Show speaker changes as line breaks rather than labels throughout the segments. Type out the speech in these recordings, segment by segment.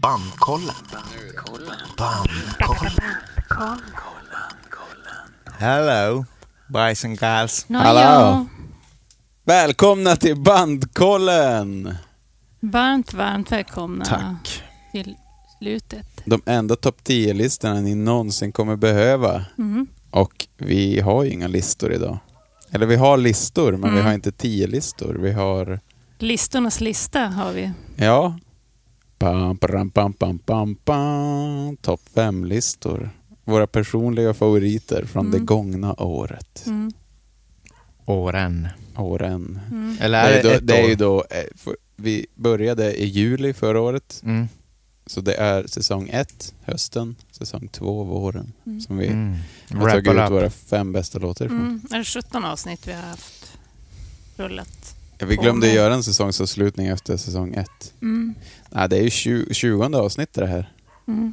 Bandkollen. Bandkollen.
Hello, boys and girls.
Nåja,
Hallå. Välkomna till Bandkollen!
varmt, varmt välkomna
Tack.
till slutet.
De enda topp 10-listorna ni någonsin kommer behöva.
Mhm.
Och vi har ju inga listor idag. Eller vi har listor, men vi
Mm.
har inte 10-listor. Vi har...
Listornas lista har vi.
Ja. Pam, pam, pam, pam, pam, pam. Topp 5-listor. Våra personliga favoriter från det
Mm.
gångna året.
Mm.
Åren.
Åren.
Mm.
Eller
Det
är
är, ju
det
då,
ett
det är
år?
ju då... eh, för- Vi började i juli förra året.
Mm.
Så det är säsong ett, hösten, säsong två, våren.
Mm.
Som vi
Mm.
har
Wrap
tagit
it
ut
up.
våra fem bästa låtar ifrån.
Mm. Är det 17 avsnitt vi har haft rullat?
Ja, Vi glömde
Åh, nej.
göra en säsongsavslutning efter säsong ett.
Mm.
Nej, det är ju tju- tjugonde avsnittet det här.
Mm.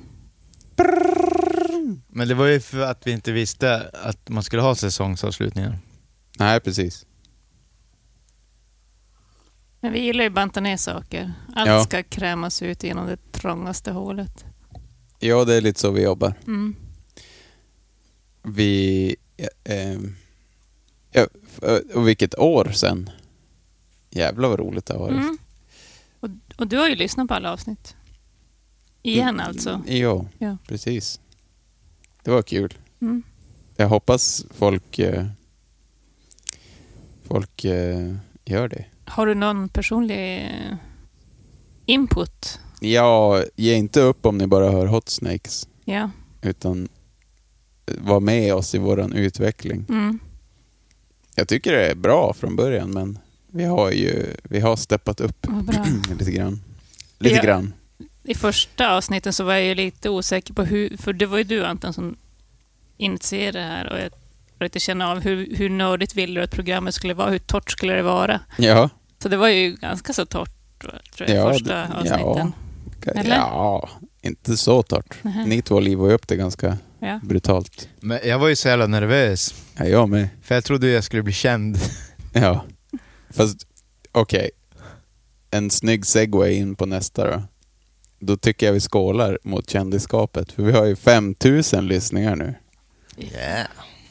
Men det var ju för att vi inte visste att man skulle ha säsongsavslutningar.
Nej, precis.
Men vi gillar ju att banta ner saker. Allt
Ja.
ska krämas ut genom det trångaste hålet.
Ja, det är lite så vi jobbar.
Mm.
Vi... ja, ehm, ja, f- ö, och vilket år sen. Jävlar vad roligt det har varit.
Mm. Och, och du har ju lyssnat på alla avsnitt.
Mm.
Igen alltså.
Ja,
Ja.
precis. Det var kul.
Mm.
Jag hoppas folk... eh, Folk eh, gör det.
Har du någon personlig eh, input?
Ja, ge inte upp om ni bara hör Hot Snakes.
Ja.
Utan eh, var med oss i våran utveckling.
Mm.
Jag tycker det är bra från början, men vi har ju vi har steppat upp
Vad bra.
lite grann. Lite
Ja.
grann.
I första avsnitten så var jag ju lite osäker på hur, för det var ju du Anton som initierade det här och jag försökte känna av hur, hur nördigt ville du att programmet skulle vara, hur torrt skulle det vara?
Ja.
Så det var ju ganska så torrt tror jag, i
Ja,
första
det-
avsnitten. Eller?
ja, inte så torrt.
Nähä.
Ni två livade upp det ganska
Ja.
brutalt.
Men jag var ju så jävla nervös.
Ja, jag med.
För jag trodde jag skulle bli känd.
Ja. Fast, okej. En snygg segway in på nästa då. Då tycker jag vi skålar mot kändisskapet. För vi har ju 5000 lyssningar nu.
Yeah.
Eh,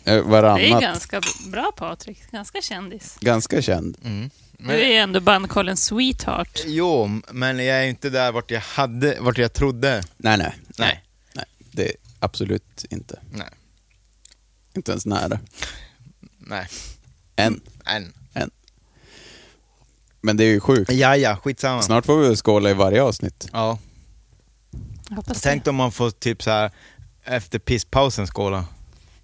Det är
Varannat.
ganska bra Patrik, ganska kändis.
Ganska känd.
Mm.
Du är ju ändå bandkollens sweetheart.
Jo, men jag är ju inte där vart jag hade, vart jag trodde.
Nej, nej.
Nej.
Nej, det är absolut inte.
Nej.
Inte ens nära.
Nej.
Än.
Än.
Men det är ju sjukt.
Ja, ja, skitsamma.
Snart får vi väl skåla i varje avsnitt.
Ja.
Jag hoppas det.
Tänk om man får typ så här efter pisspausen skåla.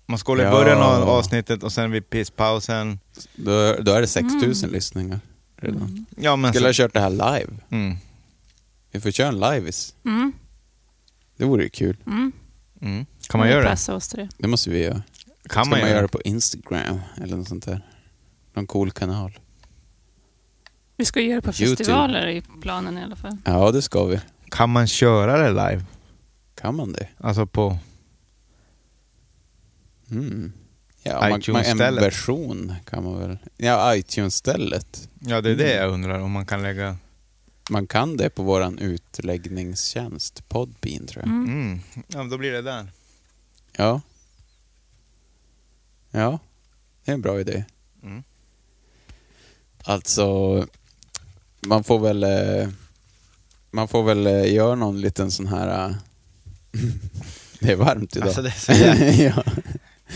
Man skålar i
Ja.
början av avsnittet och sen vid pisspausen.
Då, då är det 6000 lyssningar redan.
Ja, men
Skulle ha
så,
kört det här live.
mm,
Vi får köra en liveis.
Mm,
Det vore ju kul.
mm.
mm. Kan man göra det?
Passa oss till det.
Det måste vi göra.
Kan
Ska
man göra det?
på Instagram eller något sånt där? Någon cool kanal.
Vi ska ju göra det på
YouTube.
festivaler i planen i alla fall.
Ja, det ska vi.
Kan man köra det live?
Kan man det?
Alltså på...
Mm. Ja, man, man, en
iTunes-stället.
version kan man väl? Ja, iTunes-stället.
Ja, det är det jag undrar om man kan lägga...
Man kan det på våran utläggningstjänst, Podbean tror jag.
Mm.
Mm. Ja, men då blir det där.
Ja. Ja, det är en bra idé.
Mm.
Alltså, man får väl eh, man får väl eh, göra någon liten sån här eh, det är varmt idag.
Alltså, det är så jävla-
ja.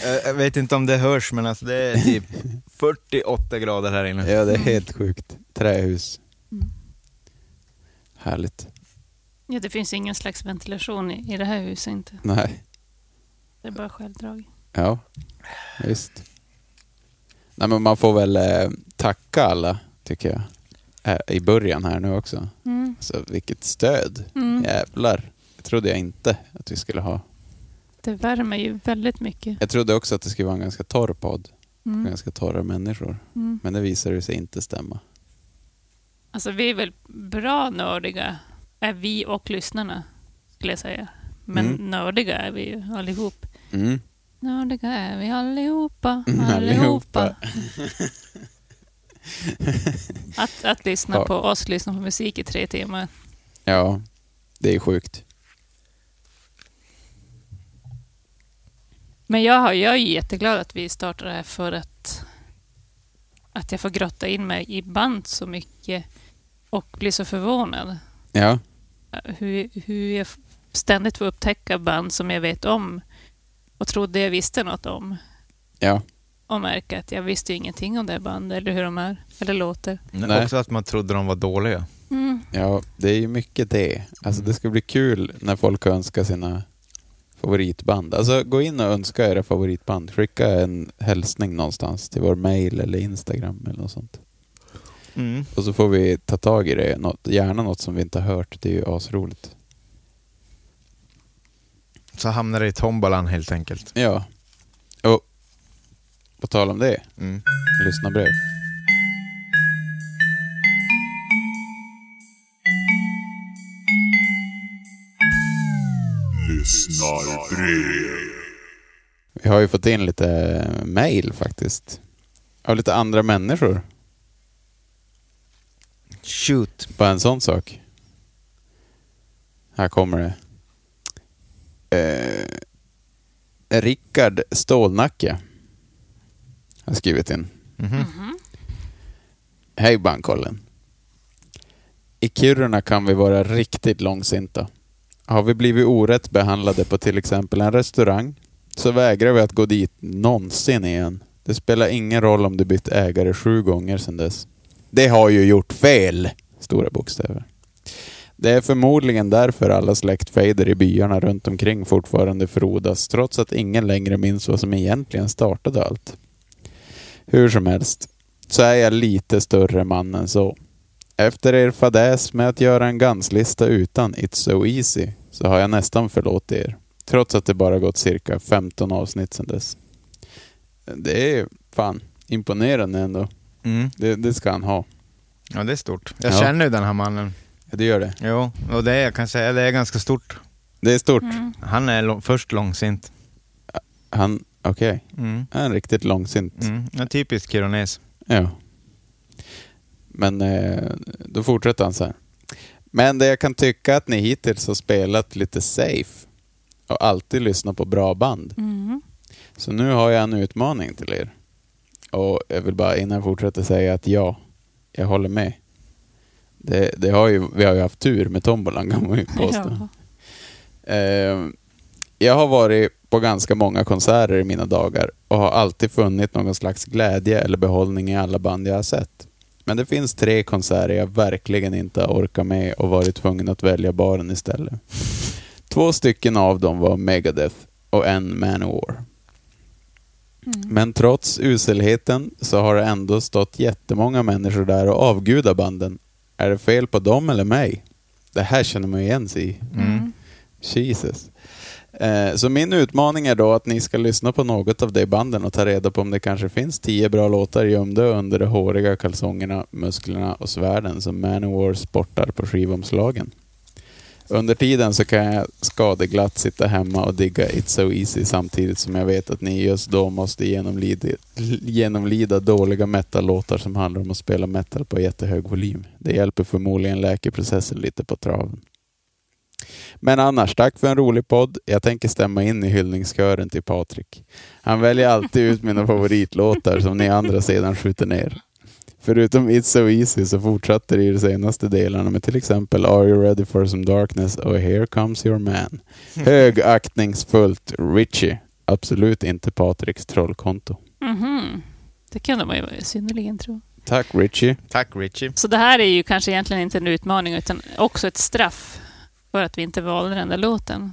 Jag jag vet inte om det hörs, men alltså det är typ 48 grader här inne.
ja, det är helt sjukt. Trähus. Härligt.
Mm. Ja, det finns ju ingen slags ventilation i, i det här huset inte.
Nej,
Det är bara självdrag.
ja, visst. Nej, men man får väl eh, tacka alla, tycker jag, eh, i början här nu också.
Mm.
Alltså, vilket stöd.
Mm.
Jävlar. Det trodde jag inte att vi skulle ha.
Det värmer ju väldigt mycket.
Jag trodde också att det skulle vara en ganska torr podd.
Mm.
Ganska torra människor.
Mm.
Men det visade sig inte stämma.
Alltså vi är väl bra nördiga, är vi och lyssnarna, skulle jag säga. Men
Mm.
nördiga är vi ju allihop.
Mm.
Nördiga är vi allihopa,
Mm, allihopa.
allihopa. att, att lyssna
Ja.
på oss, lyssna på musik i tre timmar.
Ja, det är sjukt.
Men jag, har, jag är jätteglad att vi startar det här för att, att jag får grotta in mig i band så mycket och bli så förvånad.
Ja,
Eh, Hur, hur jag ständigt får upptäcka band som jag vet om och trodde jag visste något om
ja.
och märka att jag visste ju ingenting om det här bandet eller hur de är eller låter.
Men
Nej.
Också att man trodde de var dåliga.
Mm.
Ja, det är ju mycket det. Alltså det ska bli kul när folk önskar sina favoritband. Alltså gå in och önska era favoritband. Skicka en hälsning någonstans till vår mail eller Instagram eller något sånt.
Mm.
Och så får vi ta tag i det. Något, gärna något som vi inte har hört. Det är ju asroligt.
Så hamnade det i tombolan helt enkelt.
Ja. Och på tal om det,
Mm.
lyssna brev. Vi har ju fått in lite eh, mail faktiskt. Av lite andra människor.
Shoot.
Bara en sån sak. Här kommer det. Eh, Rickard Stålnacke har skrivit in.
Mhm.
Hej Bandkollen. I Kiruna kan vi vara riktigt långsinta. Har vi blivit orätt behandlade på till exempel en restaurang så vägrar vi att gå dit någonsin igen. Det spelar ingen roll om du bytt ägare sju gånger sedan dess. Det har ju gjort fel! Stora bokstäver. Det är förmodligen därför alla släktfejder i byarna runt omkring fortfarande frodas trots att ingen längre minns vad som egentligen startade allt. Hur som helst, så är jag lite större man än så. Efter er fadäs med att göra en ganslista utan It's So Easy så har jag nästan förlåtit er. Trots att det bara gått cirka 15 avsnitt sedan dess. Det är fan imponerande ändå.
Mm.
Det, det ska han ha.
Ja, det är stort. Jag
Ja.
känner ju den här mannen.
Ja, Det gör det.
Jo, och det är, jag kan säga, det är ganska stort.
Det är stort.
Mm.
Han är lång, först långsint.
Han, okej.
Mm.
Han är riktigt långsint.
Mm. Ja, typiskt kirunes.
Ja. Men eh, då fortsätter han så här. Men det jag kan tycka att ni hittills har spelat lite safe och alltid lyssnat på bra band.
Mm.
Så nu har jag en utmaning till er. Och jag vill bara innan jag fortsätter säga att ja, jag håller med. Det, det har ju, vi har ju haft tur med tombolan kan man ju påstå.
Ja.
Eh, jag har varit på ganska många konserter i mina dagar och har alltid funnit någon slags glädje eller behållning i alla band jag har sett. Men det finns tre konserter jag verkligen inte har orkat med och varit tvungen att välja baren istället. Två stycken av dem var Megadeth och en Manowar.
Mm.
Men trots uselheten så har det ändå stått jättemånga människor där och avgudar banden. Är det fel på dem eller mig? Det här känner man ju igen sig i.
Mm.
Jesus. Eh, Så min utmaning är då att ni ska lyssna på något av de banden och ta reda på om det kanske finns tio bra låtar gömda under de håriga kalsongerna, musklerna och svärden som Manowar sportar på skivomslagen. Under tiden så kan jag skadeglatt sitta hemma och digga It's So Easy samtidigt som jag vet att ni just då måste genomlida, genomlida dåliga metal-låtar som handlar om att spela metal på jättehög volym. Det hjälper förmodligen läkeprocessen lite på traven. Men annars, tack för en rolig podd. Jag tänker stämma in i hyllningskören till Patrik. Han väljer alltid ut mina favoritlåtar som ni andra sedan skjuter ner. Förutom It's So Easy så fortsätter det i de senaste delarna med till exempel Are You Ready For Some Darkness och Here Comes Your Man. Högaktningsfullt Richie. Absolut inte Patriks trollkonto.
Mhm. Det kunde man ju synnerligen tro.
Tack Richie.
Tack Richie.
Så det här är ju kanske egentligen inte en utmaning utan också ett straff för att vi inte valde den där låten.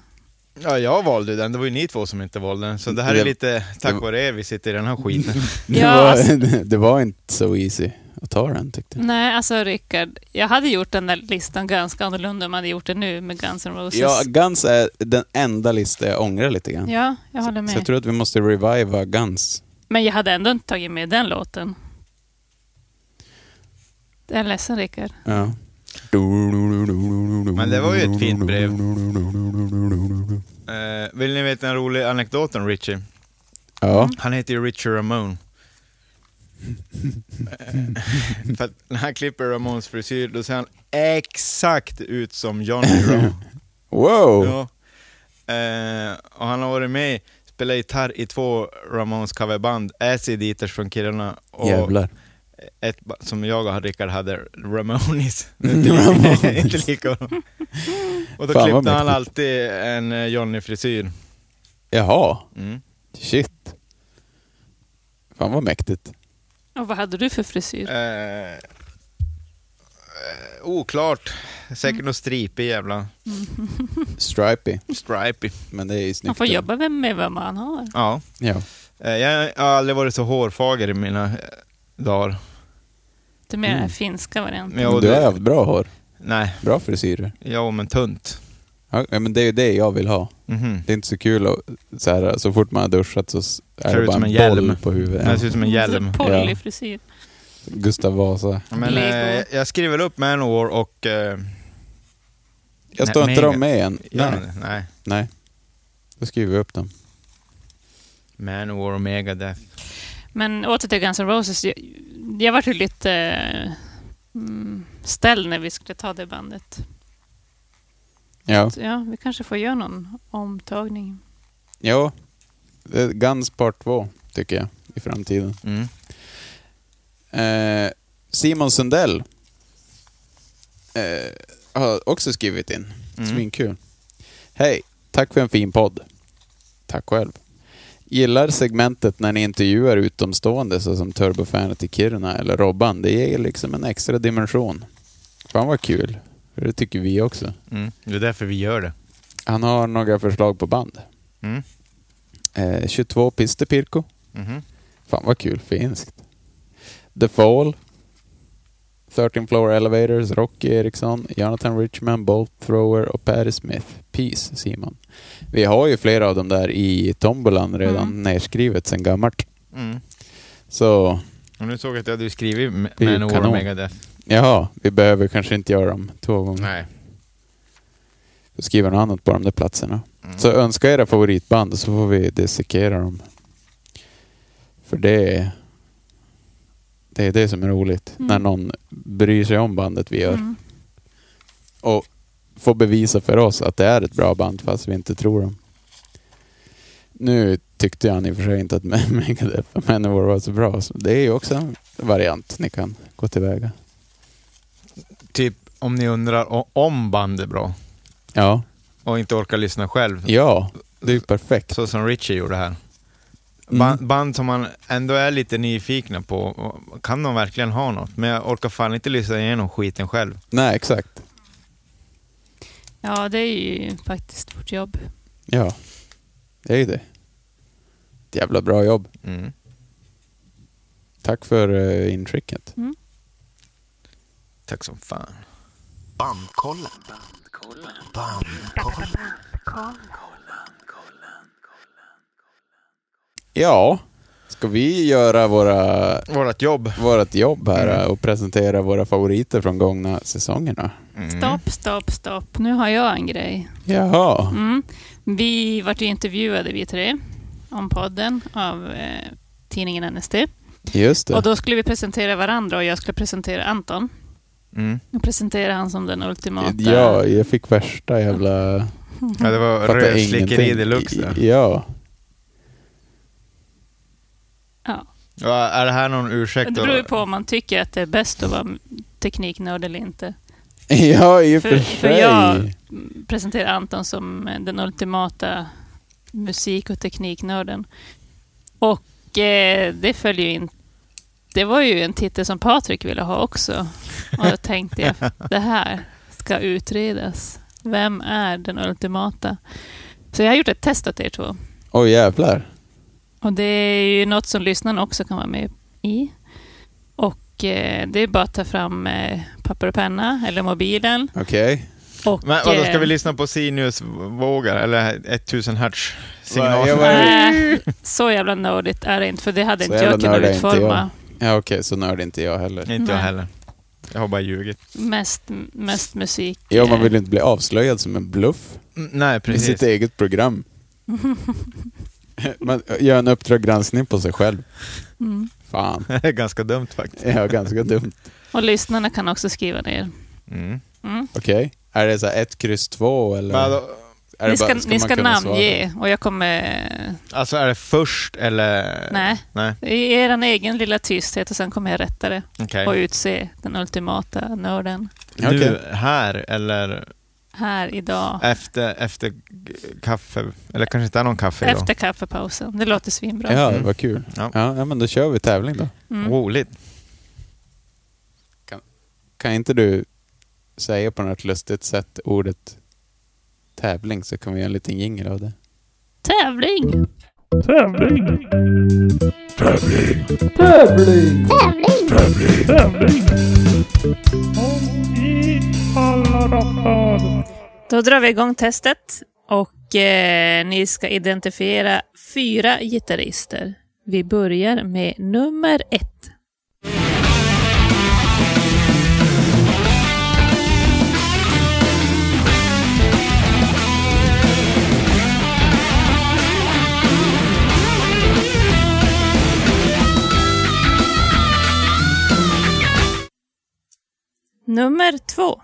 Ja, jag valde ju den. Det var ju ni två som inte valde den. Så det här
Det-
är lite
det-
tack vare er vi sitter i den här skiten.
Det,
Ja, alltså-
var, det var inte så easy att ta den tyckte jag.
Nej, alltså Rickard, jag hade gjort den där listan ganska annorlunda om jag hade gjort det nu med Guns N' Roses.
Ja, Guns är den enda lista jag ångrar lite grann.
ja jag håller
Så jag
med.
tror att vi måste reviva Guns.
Men jag hade ändå inte tagit med den låten. Jag är ledsen Rickard.
Ja.
Men det var ju ett fint brev. Eh, vill ni veta en rolig anekdot om Richie?
Ja.
Han heter ju Richie Ramone. Eh, För att när han klipper Ramones frisyr, då ser han exakt ut som Johnny Ramone.
Wow!
Ja. Eh, och han har varit med spelade gitarr i två Ramones coverband, Acid Eaters från Kiruna och
Jävlar.
ett ba- som jag och Rickard hade, Ramones.
Mm,
Inte lika-
Ramones.
Inte lika. Och då
Fan, vad
klippte han
mäktigt.
alltid en eh, Johnny-frisyr.
Jaha,
Mm.
shit. Fan vad mäktigt.
Och vad hade du för frisyr?
Eh, eh, oklart. Säkert mm. något stripig jävla
Stripey,
stripey.
men det är ju snyggt.
Man får jobba med- med vad man har.
Ja.
Ja.
Eh, jag har aldrig varit så hårfager i mina eh, dagar.
Du menar
Mm.
den finska varianten?
Ja, och
Men du har
det-
haft bra hår,
Nej,
bra frisyrer.
ja men tunt.
Ja, men det är ju det jag vill ha.
Mhm.
Det är inte så kul att så, här, så fort man har duschat så s- är
Ser
det
ut
bara
som
en,
en hjälm.
boll på huvudet.
Det ser ut som en hjälm.
Så Polyfrisyr.
Gustav Vasa.
Men,
Lego.
eh, jag skriver upp Manowar och... Eh,
Jag
Nej,
står inte
men-
dem med än.
ja,
Nej.
nej.
Nej. Då skriver vi upp dem.
Manowar och Megadeth.
Men åter till Guns N' Roses. Jag, jag var ju lite eh, mm, ställd när vi skulle ta det bandet.
Ja.
Så ja, vi kanske får göra någon omtagning.
ja. Det är Guns Part 2, tycker jag, i framtiden.
Mm.
Eh, Simon Sundell eh, har också skrivit in.
Mm.
Svinkul. Hej, tack för en fin podd. Tack själv. Gillar segmentet när ni intervjuar utomstående såsom Turbofanet i Kiruna eller Robban. Det ger liksom en extra dimension. Fan vad kul. Det tycker vi också.
Mm. Det är därför vi gör det.
Han har några förslag på band.
Mm.
Eh, 22 Pister Pirko.
Mhm.
Fan vad kul, finskt. The Fall. 13 Floor Elevators, Rocky Eriksson, Jonathan Richman, Bolt Thrower och Patti Smith. Peace, Simon. Vi har ju flera av dem där i tombolan redan
Mm.
nerskrivet sen gammalt.
Mm.
Så,
Och nu såg jag att jag hade skrivit Ma-
Det är ju
Manowar och
kanon.
Megadeth.
jaha, vi behöver kanske inte göra dem två gånger.
Nej.
Då skriver något annat på de där platserna.
Mm.
Så önska era favoritband och så får vi dissekera dem. För det är det, är det som är roligt.
Mm.
När någon bryr sig om bandet vi gör.
Mm.
Och får bevisa för oss att det är ett bra band fast vi inte tror dem. Nu tyckte han i och för sig inte att Me- Megadeth och Manowar var så bra. Så det är ju också en variant ni kan gå tillväga.
Typ om ni undrar o- om band är bra
Ja,
och inte orkar lyssna själv.
ja det är ju perfekt.
Så som Richie gjorde här.
Mm.
Ba- Band som man ändå är lite nyfikna på. Och Kan de verkligen ha något? Men jag orkar fan inte lyssna igenom skiten själv.
Nej, exakt.
Ja, det är ju faktiskt vårt jobb.
Ja, det är ju det. Ett jävla bra jobb.
Mm.
Tack för
eh,
uh, intricket.
Tack som fan.
Bandkollen. Bandkollen.
Ja, ska vi göra våra,
Vårt jobb.
vårat jobb här
Mm.
eh, och presentera våra favoriter från gångna säsongerna?
Mm.
Stopp, stopp, stopp. Nu har jag en grej.
Jaha.
Mm. Vi vart ju intervjuade, vi tre, om podden av eh, tidningen NST.
Just det.
Och då skulle vi presentera varandra och jag skulle presentera Anton.
Mm.
Jag presenterar han som den ultimata...
Ja, jag fick värsta jävla...
Ja, det var
fattar
rövslickeri
ingenting.
deluxe där.
Ja.
Ja.
Ja, är det här någon ursäkt?
Det beror ju på om man tycker att det är bäst att vara tekniknörd eller inte.
Ja, i och
För-
för
för
sig.
jag- Presentera Anton som eh, den ultimata musik och tekniknörden. Och eh, det följer ju in. Det var ju en titel som Patrik ville ha också. Och då tänkte jag, det här ska utredas. Vem är den ultimata? Så jag har gjort ett test åt er två.
Åh jävlar.
Och det är ju något som lyssnarna också kan vara med i. Och eh, det är bara att ta fram eh, papper och penna eller mobilen.
Okej.
Och,
Men vadå, ska
eh,
vi lyssna på sinusvågor eller 1000 hertz
Vad- jag
signal?
var-
Nej, så jävla nördigt är det inte, för det hade
Så
inte jag
jävla
kunnat
nördig är inte
utforma.
Ja, okej, så nörd är inte jag heller.
Inte jag
Nej.
heller. Jag har bara ljugit.
Mest, mest musik. eh,
Ja, man vill ju inte bli avslöjad som en bluff
Mm, Nej,
i
precis.
sitt eget program. Man gör en Uppdrag granskning på sig själv.
Mm.
Fan.
Det är ganska dumt faktiskt.
Ja, ganska dumt.
Och lyssnarna kan också skriva ner.
Mm.
Mm.
Okej. Är det så här ett kryss två eller?
Men då,
Är det
ni ska,
bara-
ni
man
ska
kunna
namnge och jag kommer...
Alltså är det först eller?
Nej.
Nej,
I er egen lilla tysthet och sen kommer jag rätta det
okej.
och utse den ultimata nörden
svara?
Nu,
Okej.
här eller
här idag.
efter, efter kaffe? Eller kanske inte är någon kaffe idag?
Efter kaffepausen. Det låter svinbra.
Ja,
Mm.
vad kul. Ja.
Ja.
ja, men då kör vi tävling då.
Mm.
Roligt.
Kan inte du säga på något lustigt sätt ordet tävling så kan vi göra en liten jingel av det.
Tävling! Då drar vi igång testet och eh, ni ska identifiera fyra gitarrister. Vi börjar med nummer ett. Nummer två.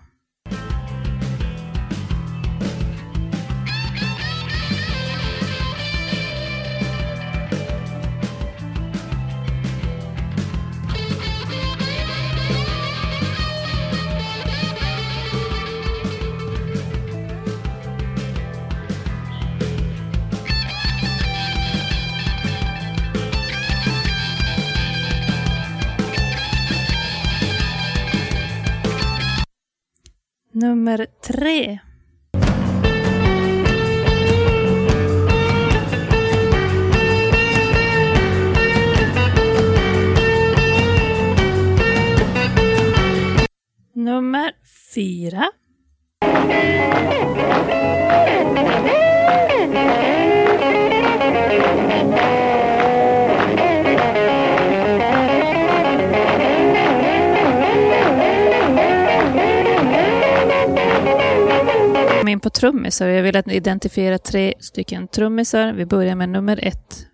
Nummer tre. Nummer fyra. kom in på trummisar och jag vill att ni identifierar tre stycken trummisar. Vi börjar med nummer ett.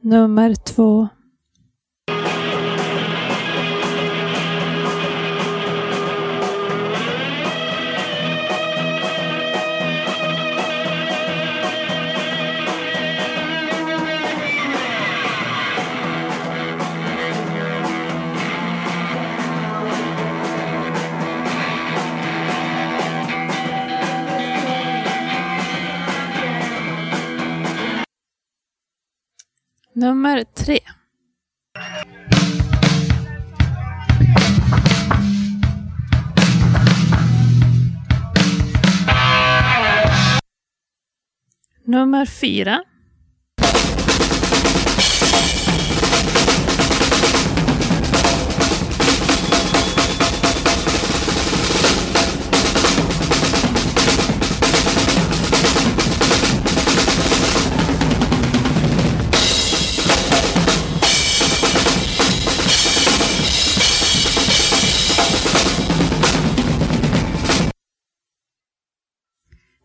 Nummer två. Nummer tre. Nummer fyra.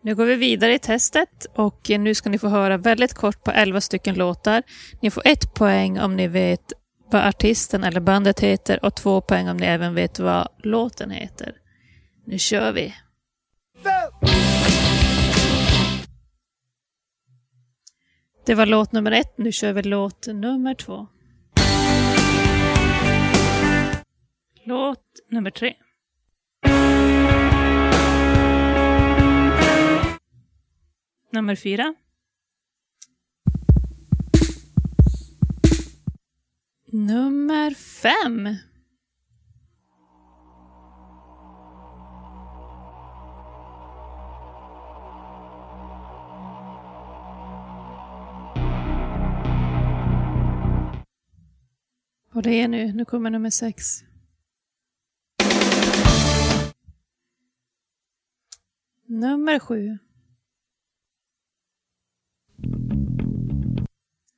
Nu går vi vidare i testet och nu ska ni få höra väldigt kort på 11 stycken låtar. Ni får ett poäng om ni vet vad artisten eller bandet heter och två poäng om ni även vet vad låten heter. Nu kör vi! Det var låt nummer ett, nu kör vi låt nummer två. Låt nummer tre. Nummer fyra. Nummer fem. Och det är nu, nu kommer nummer sex. Nummer sju.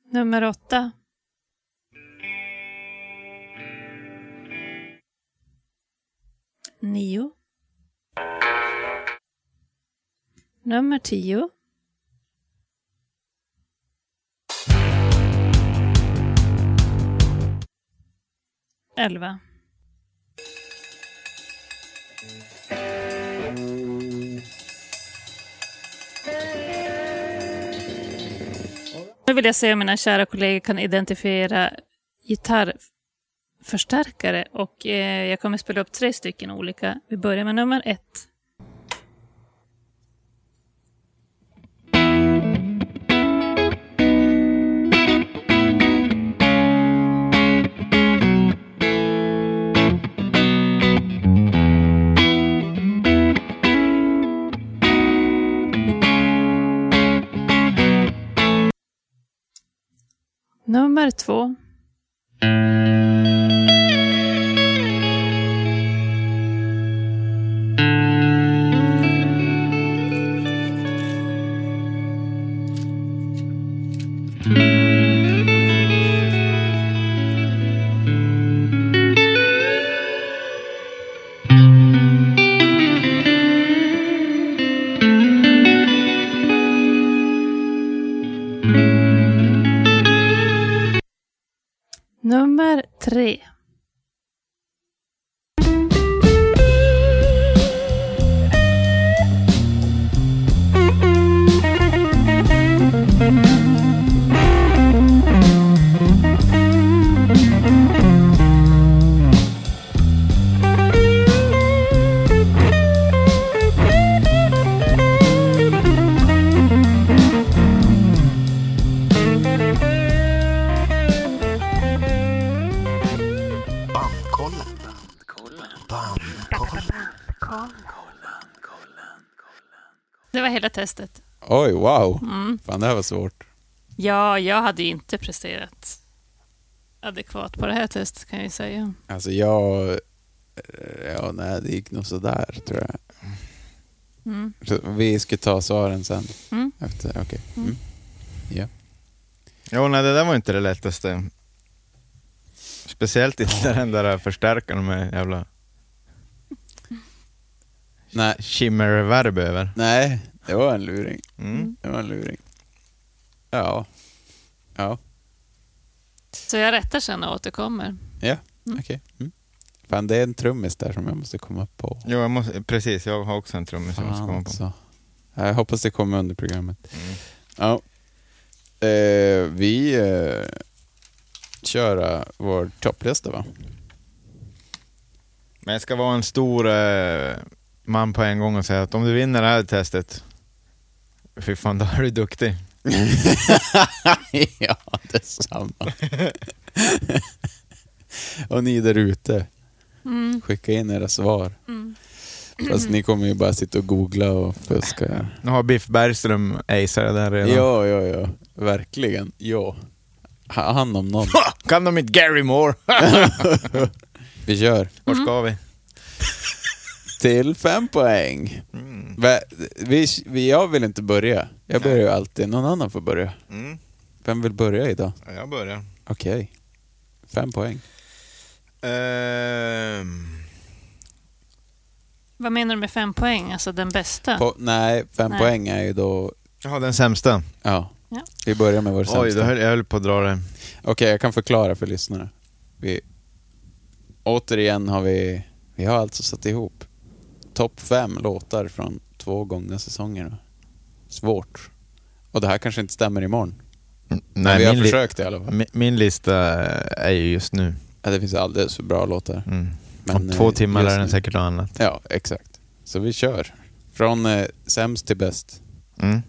Nummer åtta. Nio. Nummer tio. Elva. Nu vill jag se om mina kära kollegor kan identifiera gitarrförstärkare och eh, jag kommer spela upp tre stycken olika. Vi börjar med nummer ett. Nummer två. Nummer tre.
Bandkollen. Bandkollen.
Det var hela testet.
Oj, wow.
Mm.
Fan, det här var svårt.
Ja, jag hade ju inte presterat adekvat på det här testet kan jag ju säga.
Alltså jag... eh, Ja, nej, det gick nog sådär tror jag.
Mm.
Så Vi ska ta svaren sen.
Mm.
Efter, okej. Mm. Ja.
Jo, nej, det där var inte det lättaste. Speciellt inte den där förstärkaren med jävla
Nej,
shimmer-reverb över.
nej, det var en luring.
Mm.
Det var en luring. Ja. Ja,
Så jag rättar sen och återkommer.
ja. okej. Mm. Fan, det är en trummis där som jag måste komma på.
Jo, jag måste, precis. Jag har också en trummis som jag måste
Fan alltså.
komma på. Mm.
också. Ja, Jag hoppas det kommer under programmet. Ja. Eh, vi eh, kör eh, vår topplista va?
Men jag ska vara en stor eh, man på en gång och säga att om du vinner det här testet, fy fan då är du duktig.
ja, detsamma. och ni där ute,
Mm.
skicka in era svar.
Mm.
Fast ni kommer ju bara sitta och googla och fuska.
Nu har Biff Bergström aceat det där redan.
Ja, ja, ja. Verkligen. Ja. Ha- Han om någon.
Kan de inte Gary Moore?
Vi kör.
Var
Mm.
ska vi?
Till fem poäng.
Mm,
Va- Vi, vi, jag vill inte börja. Jag börjar ju alltid. Någon annan får börja.
Mm.
Vem vill börja idag?
Ja, Jag börjar.
Okej. Fem poäng.
Ehm,
Vad menar du med fem poäng? Alltså den bästa?
Po- nej, fem
Nej.
poäng är ju då...
Jag har den sämsta.
Ja.
Ja.
Vi börjar med vår
Oj, då
sämsta. Mm.
höll, jag höll på att dra det.
Okej, jag kan förklara för lyssnarna. Vi, återigen har vi... Vi har alltså satt ihop topp fem låtar från två gångna säsonger. Svårt. Och det här kanske inte stämmer imorgon. Men vi har
min, li-
försökt i alla fall.
mi- min lista är ju just nu.
Ja, det finns alldeles för bra låtar.
Mm.
Men,
Om två
eh,
timmar
just
är den
nu-
säkert något annat.
Ja, exakt. Så vi kör. Från eh, sämst till bäst.
Mm.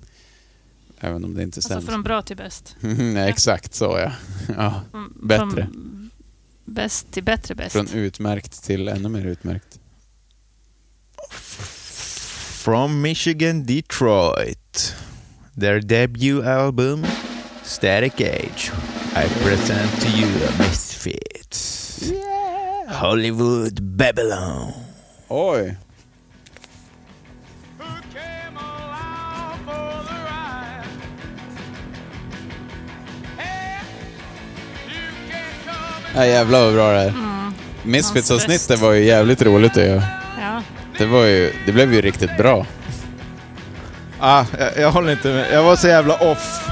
Även om det inte är
alltså
sämst.
från bra till bäst.
Nej, exakt så ja. ja.
Från-
Bättre.
Från bäst till bättre bäst.
Från utmärkt till ännu mer utmärkt.
From Michigan, Detroit. Their debut album, Static Age. I present to you the Misfits. Hollywood Babylon.
Oj!
Hey,
Ja, jävlar vad bra det är.
Mm,
Misfits-avsnittet var ju jävligt roligt att göra.
ja.
Det, var ju, det blev ju riktigt bra.
Ah, jag, jag håller inte med. Jag var så jävla off.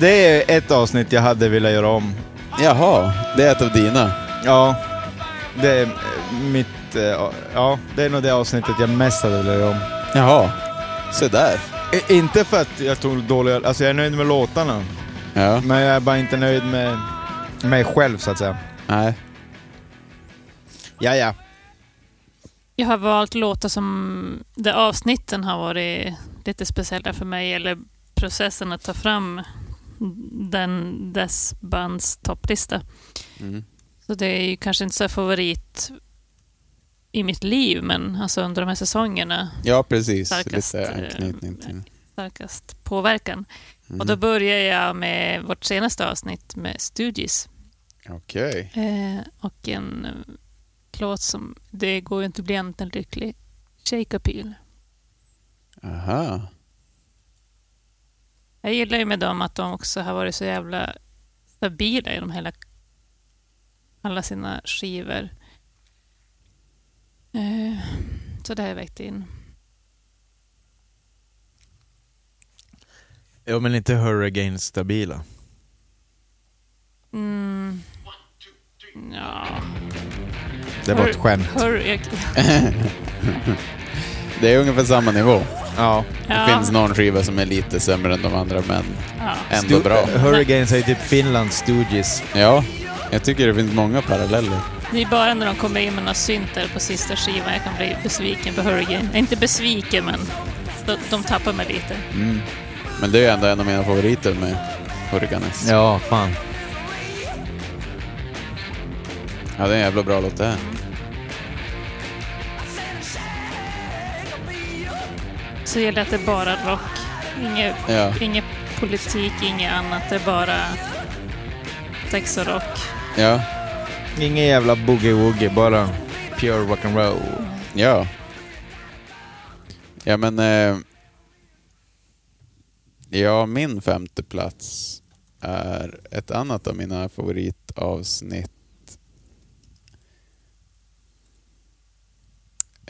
Det är ett avsnitt jag hade velat göra om.
Jaha, det är ett av dina.
Ja, det är eh, mitt... eh, Ja, det är nog det avsnittet jag mest hade velat göra om.
Jaha, se där.
I- Inte för att jag tog dåliga... Alltså jag är nöjd med låtarna.
Ja,
Men jag är bara inte nöjd med mig själv så att säga.
nej.
Ja, ja.
Jag har valt låtar som där avsnitten har varit lite speciella för mig eller processen att ta fram den, dess bands topplista.
Mm.
Så det är ju kanske inte så här favorit i mitt liv, men alltså under de här säsongerna
Ja, precis.
Starkast,
Lite
eh,
anknytning till.
starkast påverkan. Och då
Mm.
börjar jag med vårt senaste avsnitt med Stooges.
Okej.
Eh, och en eh, låt som, det går ju inte att bli annat än lycklig, Shake Appeal.
Aha.
Jag gillar ju med dem att de också har varit så jävla stabila genom hela, alla sina skivor. Eh, så det har jag vägt in.
Jo, men inte Hurricane stabila.
Mm. Ja.
Det var ett
Hur-
skämt.
hur- jag,
Det är ungefär samma nivå.
Ja.
ja,
Det finns någon skiva som är lite sämre än de andra, men
Ja.
ändå bra.
Hurricane säger typ Finland Stooges.
Ja, jag tycker det finns många paralleller.
Det är bara när de kommer in med några syntar på sista skivan jag kan bli besviken på Hurricane. Nej, Inte besviken, men de, de tappar mig lite.
Mm. Men det är ju ändå en av mina favoriter med Hurricanes. Ja.
Ja, fan.
det är en jävla bra låt det här.
Så gäller det att det är bara rock. Inget,
Ja.
inget politik, inget annat. Det är bara sex och rock.
Ja,
Ingen jävla boogie-woogie, bara pure rock'n'roll.
ja. Ja, men... Eh, ja, min femte plats är ett annat av mina favoritavsnitt.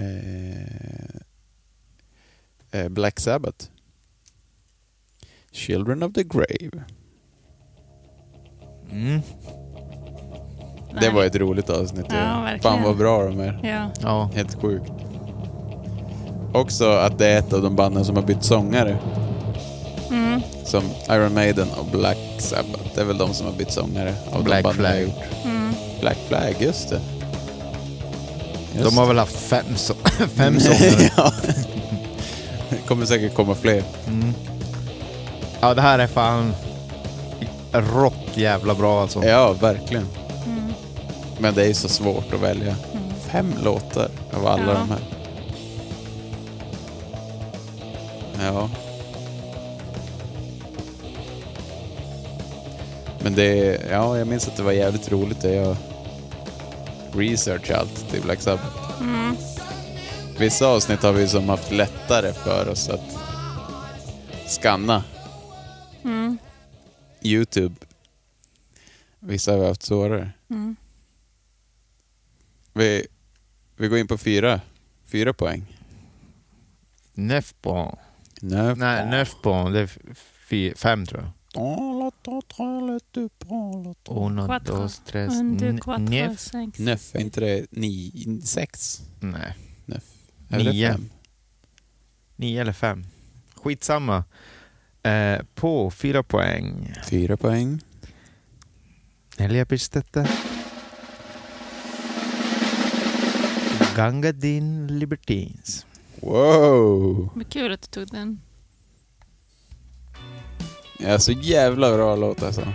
Eh, eh, Black Sabbath. Children of the Grave.
Mm.
Det
Nej.
var ett roligt avsnitt.
Ja, verkligen.
Fan vad bra de är.
Ja.
Ja.
Helt sjukt. Också att det är ett av de banden som har bytt sångare.
Mm.
Som Iron Maiden och Black Sabbath. Det är väl de som har bytt sångare. Av
Black
de banden jag
Flag.
gjort.
Mm.
Black Flag, just det.
De har väl haft fem, så fem sångare.
ja. Det kommer säkert komma fler.
Mm. Ja, det här är fan rock jävla bra alltså.
Ja, verkligen.
Mm.
Men det är ju så svårt att välja.
Mm.
Fem låtar av alla
Ja.
de här. Ja. Men det, ja, jag minns att det var jävligt roligt det jag researchade allt typ, till Black Sabbath.
Mm.
Vissa avsnitt har vi som haft lättare för oss att skanna
Mm.
YouTube. Vissa har vi haft svårare.
Mm.
Vi, vi går in på fyra. Fyra poäng.
Nefbon.
Nej.
Nej, Nefbon. Det är f- fy- fem tror jag. Uno,
Quattro.
dos, tres,
Under
n-
quattro,
nef.
sex.
Neff, är inte det ni, sex?
Nej,
Eller
Nio.
fem?
nio eller fem. Skitsamma. Eh, på fyra poäng.
Fyra poäng.
Elia Pistetter. Ganga Din Libertines.
Wow!
Vad kul att du tog den.
Ja, så jävla bra låt alltså.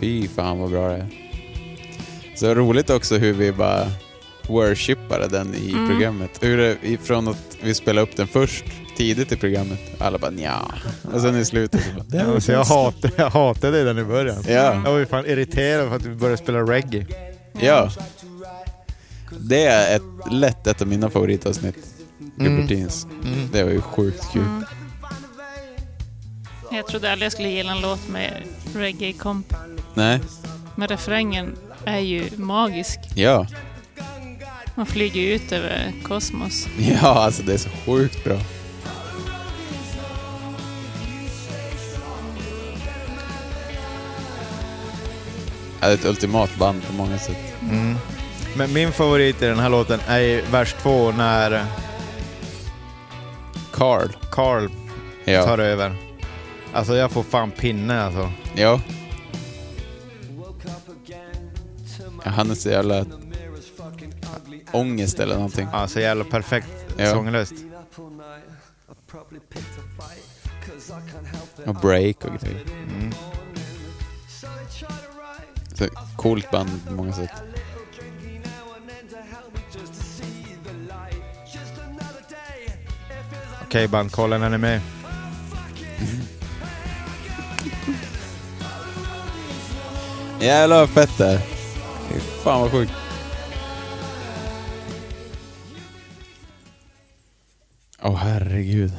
Fy fan vad bra det är. Så roligt också hur vi bara worshipade den i
Mm.
programmet. Hur det, ifrån att vi spelade upp den först, tidigt i programmet. Alla bara nja. Och sen i slutet så bara... "Det var
Alltså, jag,
bäst."
hatade, jag hatade den i början.
Ja,
Jag var ju fan irriterad för att vi började spela reggae.
ja. Det är ett, lätt ett av mina favoritavsnitt. Libertines.
Mm.
Det var ju sjukt kul.
Mm. Jag trodde aldrig jag skulle gilla en låt med reggae-komp.
Nej.
Men refrängen är ju magisk.
Ja,
Man flyger ju ut över kosmos.
ja alltså det är så sjukt bra. Ja, det är ett ultimat band på många sätt.
Mm. Men min favorit i den här låten är ju vers två när
Carl.
Carl
Ja.
tar över. Alltså jag får fan pinne alltså.
ja. ja han är så jävla... Ångest eller någonting.
Ja, så jävla perfekt
Ja.
sånglöst.
Och break och grejer.
Mm.
Så, coolt band på många sätt.
Okej band, kolla när ni är med.
Jävlar vad fett det är. Fy Fan vad sjukt. Åh herregud.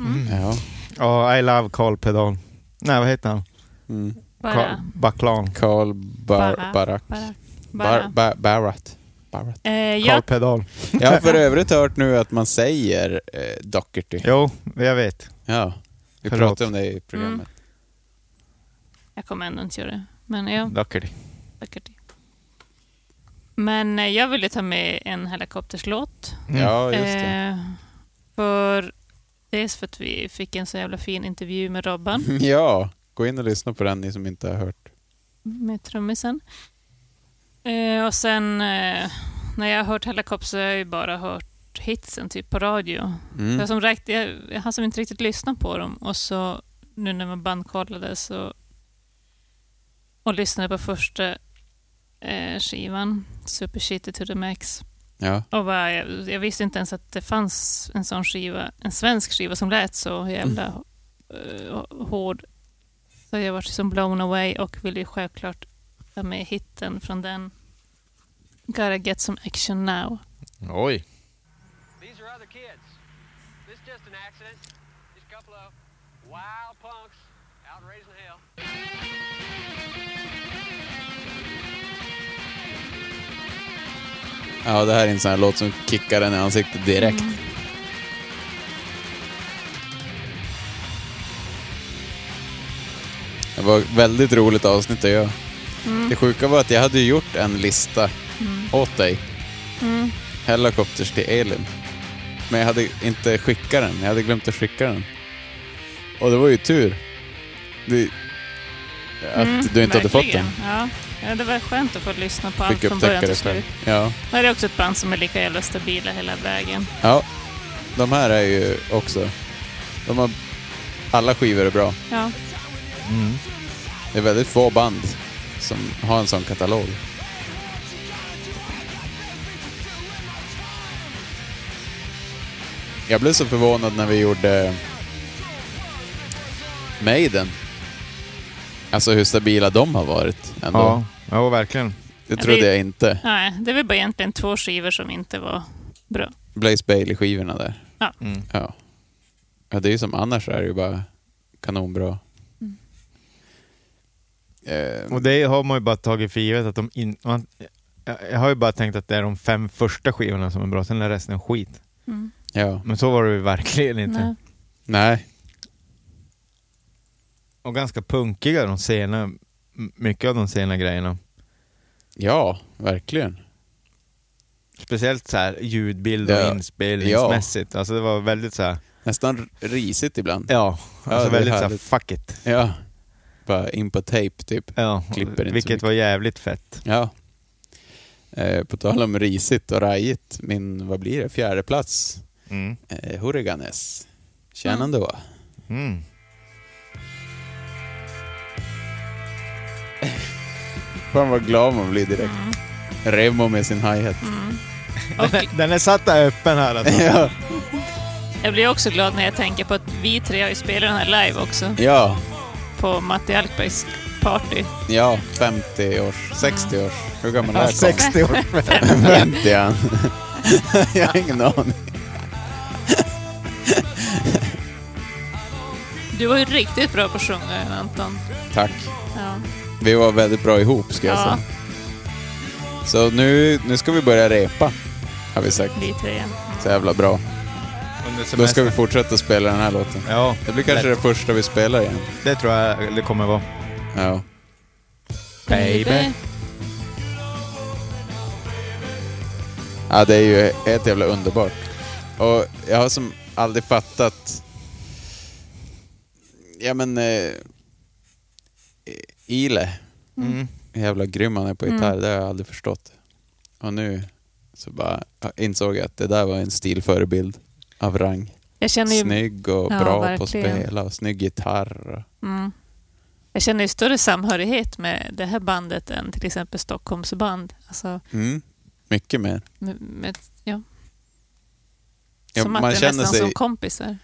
Mm.
Ja.
Ja, I love Carl Pedal. Nej, vad heter han?
Mm.
Bara,
Baklan.
Carl
Bara-
Bar- Barak.
bara,
Bar-
bara.
Ba- Barat. Barat.
Eh,
Carl
ja,
Pedal.
Jag har för övrigt hört nu att man säger eh, Doherty.
Jo, jag vet.
Ja. Vi
Förlåt.
pratade om det i programmet.
jag kommer ändå inte göra det. Men ja,
Doherty.
säkert. Men eh, jag ville ta med en helikopterslåt.
Mm.
Ja, just det.
Eh, för dels för att vi fick en så jävla fin intervju med Robban,
Mm-hmm. Ja, gå in och lyssna på den ni som inte har hört.
med trummisen. Eh, och sen eh, när jag har hört helikopter så har jag ju bara hört hitsen typ på radio.
Mm.
Jag, som räkte, jag, jag har som inte riktigt lyssnat på dem och så nu när man bandkollade så och lyssnade på första eh, skivan, Super Shitty to the Max.
Ja.
Och bara, jag, jag visste inte ens att det fanns en sån skiva, en svensk skiva som lät så jävla eh, hård. Så jag var som blown away och ville ju självklart ta med hitten från den. Gotta get some action now.
Oj.
These are other kids. This just an accident. Just a couple of wild punks out raising hell.
ja, det här är en sån här låt som kickar en i ansiktet direkt.
Mm.
Det var ett väldigt roligt avsnitt att göra.
Mm.
Det sjuka var att jag hade ju gjort en lista åt dig.
Mm.
Helicopters till Elin. Men jag hade inte skickat den. Jag hade glömt att skicka den. Och det var ju tur. Det, att
Mm,
du inte hade fått den.
verkligen. Ja. ja, det var skönt att få lyssna på allt
Fick
från början
upptäcka det
till
själv.
slut.
Ja.
Det här är också ett band som är lika jävla stabila hela vägen.
ja. De här är ju också... De har, alla skivor är bra.
Ja.
Mm.
Det är väldigt få band som har en sån katalog. Jag blev så förvånad när vi gjorde Maiden. Alltså hur stabila de har varit ändå.
Ja, ja verkligen.
Det trodde
det-
jag inte.
Nej, det är väl bara egentligen två skivor som inte var bra.
Blaze Bailey-skivorna där.
Ja.
Mm.
Ja. ja, det är ju som annars så är det ju bara kanonbra. Eh,
Mm. Och det har man ju bara tagit för givet att de in, man, jag, jag har ju bara tänkt att det är de fem första skivorna som är bra, sen är resten skit.
Mm.
ja,
Men så var det ju verkligen inte.
Nej.
nej.
Och ganska punkiga de sena, m- mycket av de sena grejerna.
Ja, verkligen.
Speciellt så här ljudbild och
Ja.
inspelningsmässigt. Alltså det var väldigt så här,
Nästan r- risigt ibland.
ja,
Ja, det
alltså
är
väldigt så här,
härligt.
fuck it.
Ja. Bara in på tape, typ.
Ja,
Klipper inte så
vilket
mycket.
var jävligt fett.
Ja. Eh, på tal om risigt och rajigt, min, vad blir det, fjärde plats
Mm.
eh, Hurriganes. Tjena
Mm.
ändå. Mm-hmm.
Mm.
Fan vad glad man blir direkt.
Mm.
Remo med sin hi-hat.
Mm.
Och
Den är satt där öppen här alltså.
Ja.
jag blir också glad när jag tänker på att vi tre har ju spelat den här live också
ja,
på Matti Alkbergs party.
ja, 50 års, 60 års. Hur gammal är
Ja,
han?
60 år.
50 är han. Jag har ingen aning.
Du var ju riktigt bra på att sjunga Anton.
Tack.
Ja.
Vi var väldigt bra ihop ska jag
Ja,
säga. Så nu, nu ska vi börja repa. Har vi sagt.
vi tre.
Så jävla bra.
Under
Då ska
semestern.
vi fortsätta spela den här låten.
Ja,
Det blir kanske det
lätt.
första vi spelar igen.
det tror jag det kommer vara.
Ja.
Baby.
Ja, det är ju helt jävla underbart. Och jag har som aldrig fattat... Ja men... Eh, Ile.
Mm.
Hur jävla grym han är på
Mm.
gitarr, det har jag aldrig förstått. Och nu så bara insåg jag att det där var en stilförebild av rang.
Jag känner ju
Snygg och
Ja,
bra på att
verkligen.
spela och snygg gitarr. och-
Mm. Jag känner ju större samhörighet med det här bandet än till exempel Stockholmsband. Alltså,
Mm. Mycket mer.
med, med, ja.
Ja,
som
man
att det är
känner
nästan
sig-
som kompisar.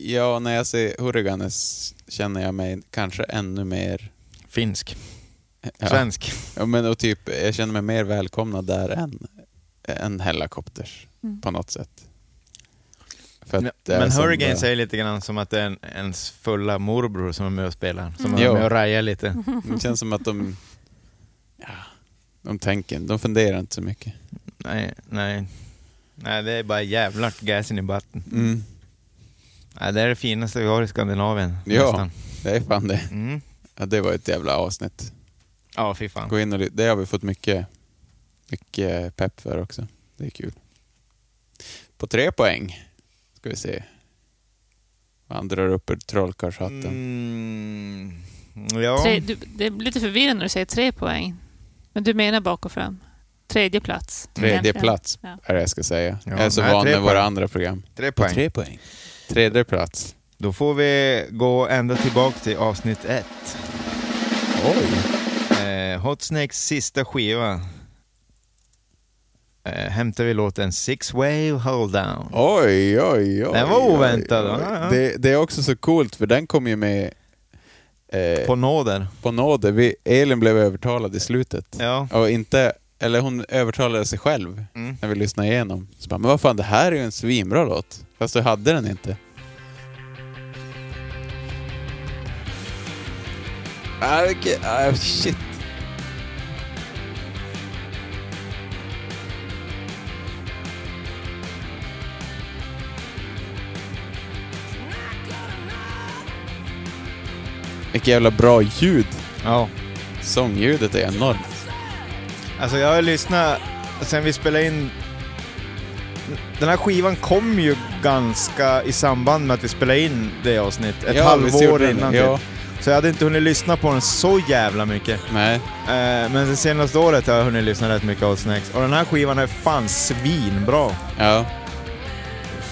Ja, när jag ser Hurriganes känner jag mig kanske ännu mer...
Finsk.
Ja.
Svensk.
Ja, men och typ, jag känner mig mer välkomnad där än, än Hellacopters
Mm.
på något sätt. För att det är
Men
som
Hurricane
bara-
säger lite grann som att det är en, ens fulla morbror som är med och spelar. Som
Mm.
är
Jo.
med och rajar lite.
Det känns som att de... Ja, de tänker, de funderar inte så mycket.
Nej, nej. Nej, det är bara jävlar gasen i batten.
Mm.
Nej, det är det finaste vi har i Skandinavien.
Ja.
Nästan.
Det är fan det.
Mm.
Ja, det var ett jävla avsnitt.
Ja, fy fan.
Gå in och ly- Det har vi fått mycket, mycket pepp för också. Det är kul. På tre poäng ska vi se. Han drar upp ur trollkarlshatten.
Mm. Ja.
Tre, du, det blir lite förvirrande när du säger tre poäng. Men du menar bak och fram. Tredje plats.
Tredje
egentligen.
plats
Ja.
är det jag ska säga.
Ja,
jag är så
nej,
van
tre
med våra
poäng.
andra program.
Tre poäng.
poäng. Tredje plats.
Då får vi gå ända tillbaka till avsnitt ett.
Oj!
Eh, Hot Snakes sista skiva. Eh, hämtar vi låten Six Wave Hold Down.
Oj, oj, oj.
Den var
oj,
oväntad,
oj.
ja, ja.
Det, det är också så coolt för den kom ju med eh,
På
på,
nåder.
nåder. Vi, Elin blev övertalad i slutet.
Ja.
Och inte, eller hon övertalade sig själv
Mm.
när vi lyssnade igenom. Så bara, men vad fan, det här är ju en svinbra låt. Fast du hade den inte. Ah, vilket- ah, shit. Vilket jävla bra ljud.
ja.
Sångljudet är enormt.
Alltså jag har lyssnat sen vi spelade in... Den här skivan kom ju ganska i samband med att vi spelade in det avsnitt. Ett
Ja, visst gjorde
halvår
den det.
innan
Ja,
typ. Så jag hade inte hunnit lyssna på den så jävla mycket.
nej.
Eh, men det senaste året har jag hunnit lyssna rätt mycket av Snacks. Och den här skivan är fan svinbra.
Ja.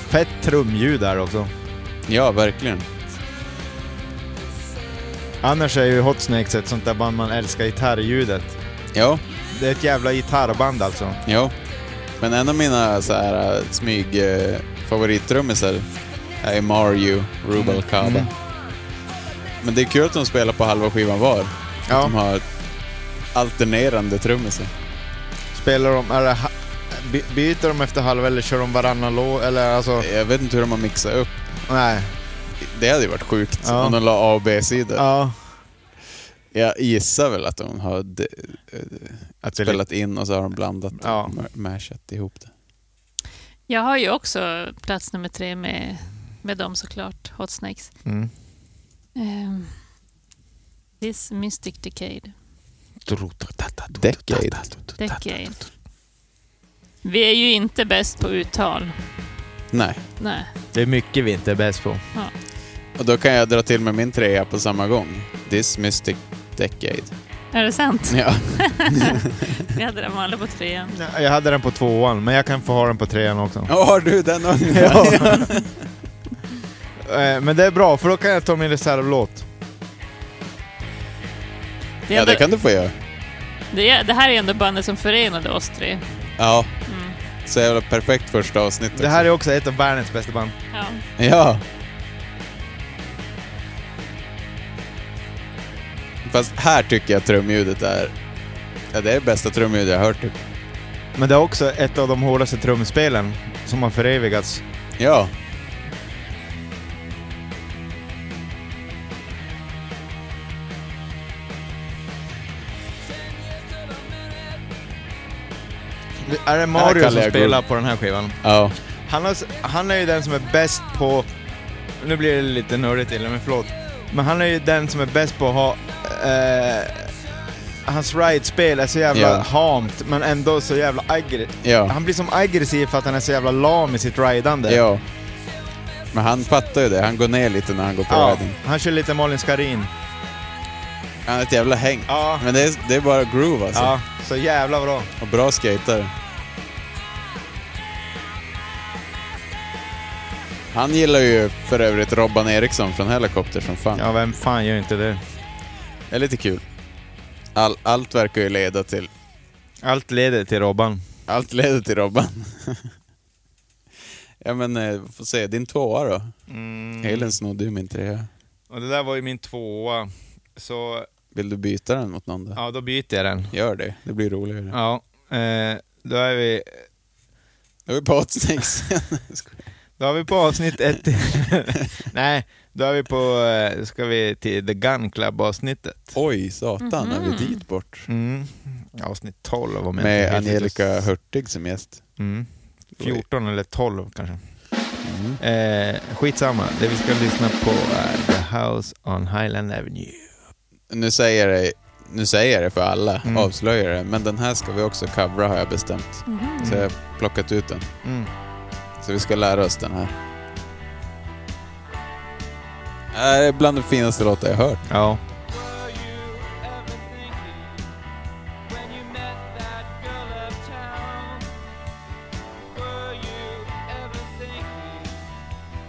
Fett trumljud där också.
ja, verkligen.
Annars är ju Hot Snakes ett sånt där band man älskar gitarrljudet.
Ja,
Det är ett jävla gitarrband alltså.
ja. Men en av mina så här, äh, smyg eh, favorittrummisar är Mario Rubalcaba.
Mm.
Men det är kul att de spelar på halva skivan var. Att
Ja,
de har alternerande trummisar.
spelar de... Är det, ha- by- byter de efter halva eller kör de varannan låt? Eller alltså...
Jag vet inte hur de har mixat upp.
Nej.
Det hade ju varit sjukt
Ja.
om de la A och B-sidor.
Ja.
Jag gissar väl att de har d-
Att det är
spelat in och så har de blandat
Ja.
och ma- mashat ihop det.
Jag har ju också plats nummer tre med, med dem såklart. Hot Snakes.
lite- Mm.
Ehm, this Mystic Decade.
Decade.
Decade. Vi är ju inte bäst på uttal.
Nej.
Nej.
Det är mycket vi inte är bäst på.
Och då kan jag dra till med min trea på samma gång. This Mystic Decade.
Är det sant?
Ja.
Vi hade dem alla på trean.
Jag hade den på tvåan, men jag kan få ha den på trean också.
Ja, har du den ungen?
Eh, Men det är bra, för då kan jag ta min reservlåt.
Det, är
ja,
ändå,
det kan du få göra.
det, är- det här är ändå bandet som förenade oss tre.
Ja. Mm. Så jävla perfekt första avsnitt
Det här är också ett av världens bästa band.
Ja.
Ja. Fast här tycker jag trumljudet är... Ja, det är det bästa trumljudet jag har hört typ.
Men det är också ett av de hårdaste trumspelen som har förevigats.
Ja.
Är det
Här
Mario
kallar
som
jag
spelar på den här skivan?
Ja.
Han, har, s- han är ju den som är bäst på... Nu blir det lite nördigt till men förlåt. Men han är ju den som är bäst på att ha... Eh, hans ride-spel är så jävla
Ja.
hamt, men ändå så jävla aggressivt.
Ja.
Han blir som aggressiv för att han är så jävla lam i sitt ridande.
ja. Men han fattar ju det. Han går ner lite när han går på
Ja,
riding.
han kör lite Malin Skarin.
Han har ett jävla häng.
Ja.
Men det är, det är bara groove alltså.
Ja, så jävla bra.
Och bra skater. Han gillar ju för övrigt Robban Eriksson från Helicopter som fan.
Ja, vem fan gör inte det?
Det är lite kul. All, allt verkar ju leda till...
Allt leder till Robban.
Allt leder till Robban. ja men, eh, får se. Din tvåa då?
Mm.
Helen snodde ju min trea.
Och det där var ju min tvåa. Så,
Vill du byta den mot någon då?
ja då byter jag den.
Gör det. Det blir roligare.
Ja, eh, då är vi...
Då är vi på Hotsnakes.
Då är vi på avsnitt ett. Nej, då är vi på... eh, Ska vi till The Gun Club-avsnittet.
Oj, satan. Är vi dit bort?
Mm. Avsnitt 12 om jag inte
Med
helt ute.
Angelica Hurtig som gäst.
Mm. 14 eller 12 kanske. Eh, skitsamma, det vi ska lyssna på är The House on Highland Avenue.
Nu säger jag det, nu säger jag det för alla,
Mm.
avslöjar det. Men den här ska vi också covra har jag bestämt. Så jag har plockat ut den.
Mm.
Så vi ska lära oss den här. Det är bland de finaste låtar jag hört.
Ja.
Were you ever thinking when you met that girl uptown? Were you ever thinking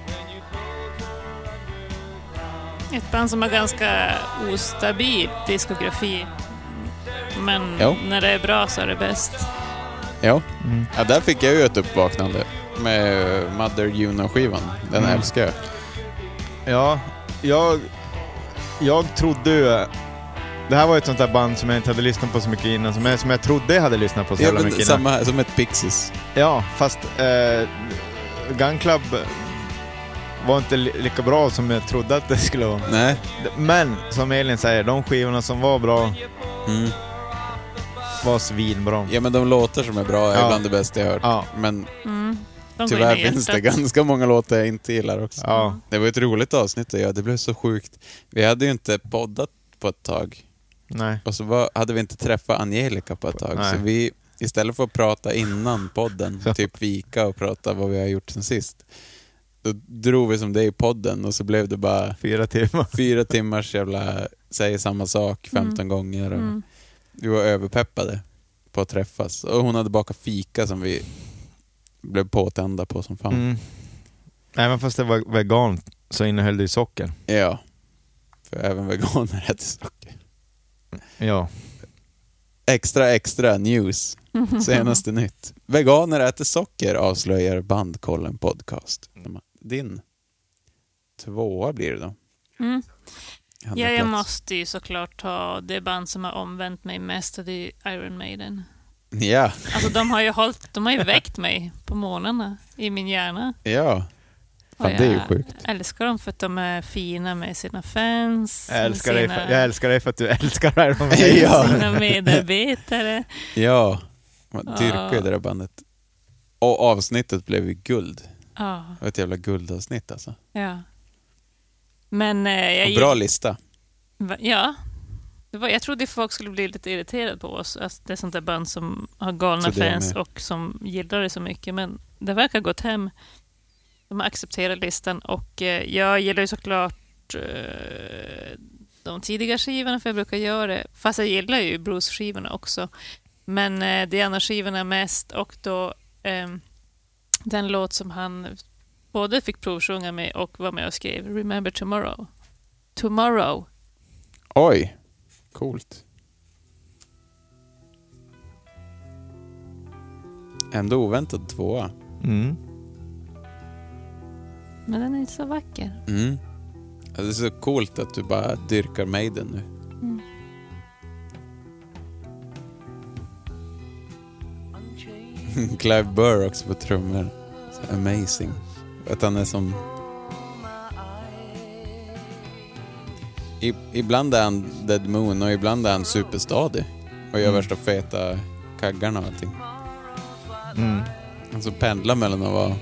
when you pulled her underground?
Ett band som har ganska ostabil diskografi. Men
Jo.
när det är bra så är det bäst.
Ja. ja, där fick jag ju ett uppvaknande. Med Mother Juno-skivan. Den
Mm.
älskar jag.
Ja, jag, jag trodde ju... Det här var ju ett sånt där band som jag inte hade lyssnat på så mycket innan, som jag, som jag trodde jag hade lyssnat på så
Ja,
jävla
men
mycket
samma här, som ett Pixies.
innan. Ja, fast eh, Gun Club var inte li- lika bra som jag trodde att det skulle vara.
Nej.
Men som Elin säger, de skivorna som var bra
Mm.
var svinbra.
Ja, men de låtar som är bra är
Ja.
bland det bästa jag hört.
Ja.
Men
Mm. De går
tyvärr
in i
finns det
hjärtat.
ganska många låtar jag inte gillar också.
Ja.
Det var ett roligt avsnitt ja. det blev så sjukt. Vi hade ju inte poddat på ett tag.
Nej.
Och så var, hade vi inte träffat Angelica på ett tag.
Nej.
Så vi, istället för att prata innan podden, typ vika och prata vad vi har gjort sen sist. Då drog vi som det i podden och så blev det bara
Fyra timmar.
fyra timmars jävla säger samma sak 15 gånger. Och
Mm.
Vi var överpeppade på att träffas. Och hon hade bakat fika som vi blev påtända på som fan.
Mm. Nej, men fast det var vegan så innehöll det ju socker.
Ja. För även veganer äter socker.
Ja.
Extra, extra news.
Mhm.
Senaste nytt. Veganer äter socker avslöjar Bandkollen podcast. Din tvåa blir det då.
Mm. Ja, jag
Handla plats.
måste ju såklart ta det band som har omvänt mig mest och det är ju Iron Maiden.
Ja,
Alltså de har ju, hållit, de har ju väckt mig på morgnarna i min hjärna.
ja.
Och
Fan, det är ju
jag
sjukt.
älskar dem för att de är fina med sina fans,
Jag älskar,
med
dig
sina,
för, jag älskar dig för att du älskar Iron Maiden.
Ja.
sina medarbetare.
Ja, man dyrkar ju
Ja.
det där bandet. Och avsnittet blev ju guld.
Ja,
Det var ett jävla guldavsnitt alltså.
ja. Men eh, jag
Och bra lista.
Va- Ja. Det var, jag trodde folk skulle bli lite irriterade på oss. Alltså, det är sånt där band som har
Så
galna
det är
fans
med.
och som gillar det så mycket. Men det verkar ha gått hem. De har accepterat listan och eh, jag gillar ju såklart eh, de tidiga skivorna för jag brukar göra det. Fast jag gillar ju Bruce-skivorna också. Men eh, Diana-skivorna mest och då ehm, den låt som han både fick provsjunga med och var med och skrev, Remember Tomorrow. Tomorrow
Oj, coolt. Ändå oväntad tvåa.
Mm.
Men den är inte så vacker.
Mm. Ja, Det är så coolt att du bara dyrkar Maiden nu. Mm. Clive Burr också på trummor. Så amazing. Att han är som... I, ibland är han Dead Moon och ibland är han superstadig. Och gör värsta feta kaggarna och allting.
Mm.
Alltså pendla mellan att vara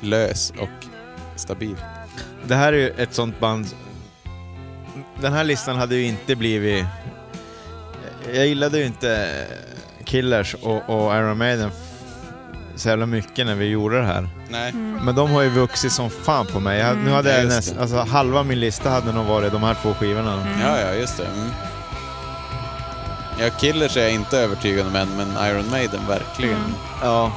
lös och stabil.
Det här är ju ett sånt band... Den här listan hade ju inte blivit... Jag gillade ju inte Killers och, och Iron Maiden så jävla mycket när vi gjorde det här.
Nej.
Men de har ju vuxit som fan på mig. Jag, nu hade jag
Mm. Just
nästan...
det.
Alltså halva min lista hade nog varit de här två skivorna.
Ja, ja, just det. Mm. Ja, Killers är jag inte övertygad om än, men Iron Maiden verkligen.
Mm.
Ja.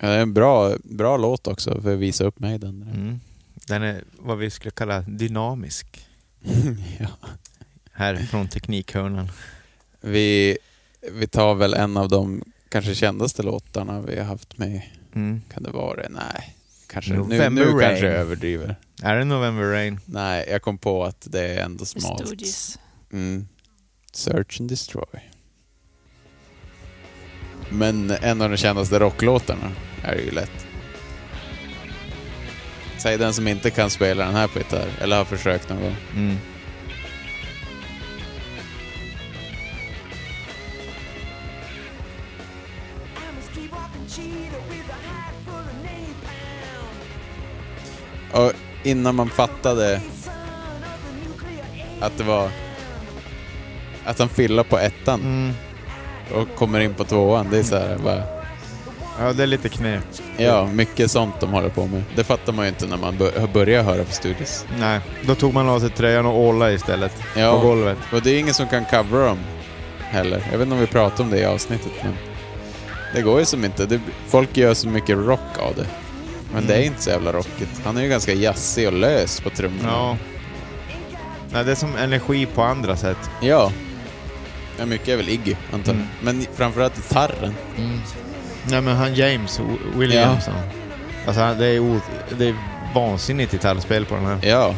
Ja, det är en bra, bra låt också för att visa upp Maiden.
Mm. Den är vad vi skulle kalla dynamisk.
ja.
Här från Teknikhörnan.
vi, vi tar väl en av de kanske kändaste låtarna vi har haft med.
Mm.
Kan det vara det? Nej. Kanske, nu
November
nu
Rain.
kanske jag överdriver.
Är det November Rain?
Nej, jag kom på att det är ändå smalt.
Stooges.
Mm. Search and Destroy. Men en av de kändaste rocklåtarna är det ju lätt. Säg den som inte kan spela den här på gitarr, eller har försökt någon gång.
Mm.
Och innan man fattade att det var... Att han fyller på ettan
Mm.
och kommer in på tvåan, det är så här bara...
Ja, det är lite knepigt.
Ja, mycket sånt de håller på med. Det fattar man ju inte när man bör- börjar höra på Studios.
Nej, då tog man av sig tröjan och ålade istället.
Ja.
På golvet.
Och det är ingen som kan covera dem heller. Jag vet inte om vi pratade om det i avsnittet, men det går ju som inte. Det, folk gör så mycket rock av det. Men det
Mm.
är inte så jävla rockigt. Han är ju ganska jazzig och lös på trummorna.
Ja. Nej, det är som energi på andra sätt.
Ja. Ja, mycket är väl Iggy, antar jag.
Mm.
Men framförallt gitarren.
Nej, men han James W- Williamson. Alltså, han- det är, o- det är vansinnigt gitarrspel på den här.
Ja.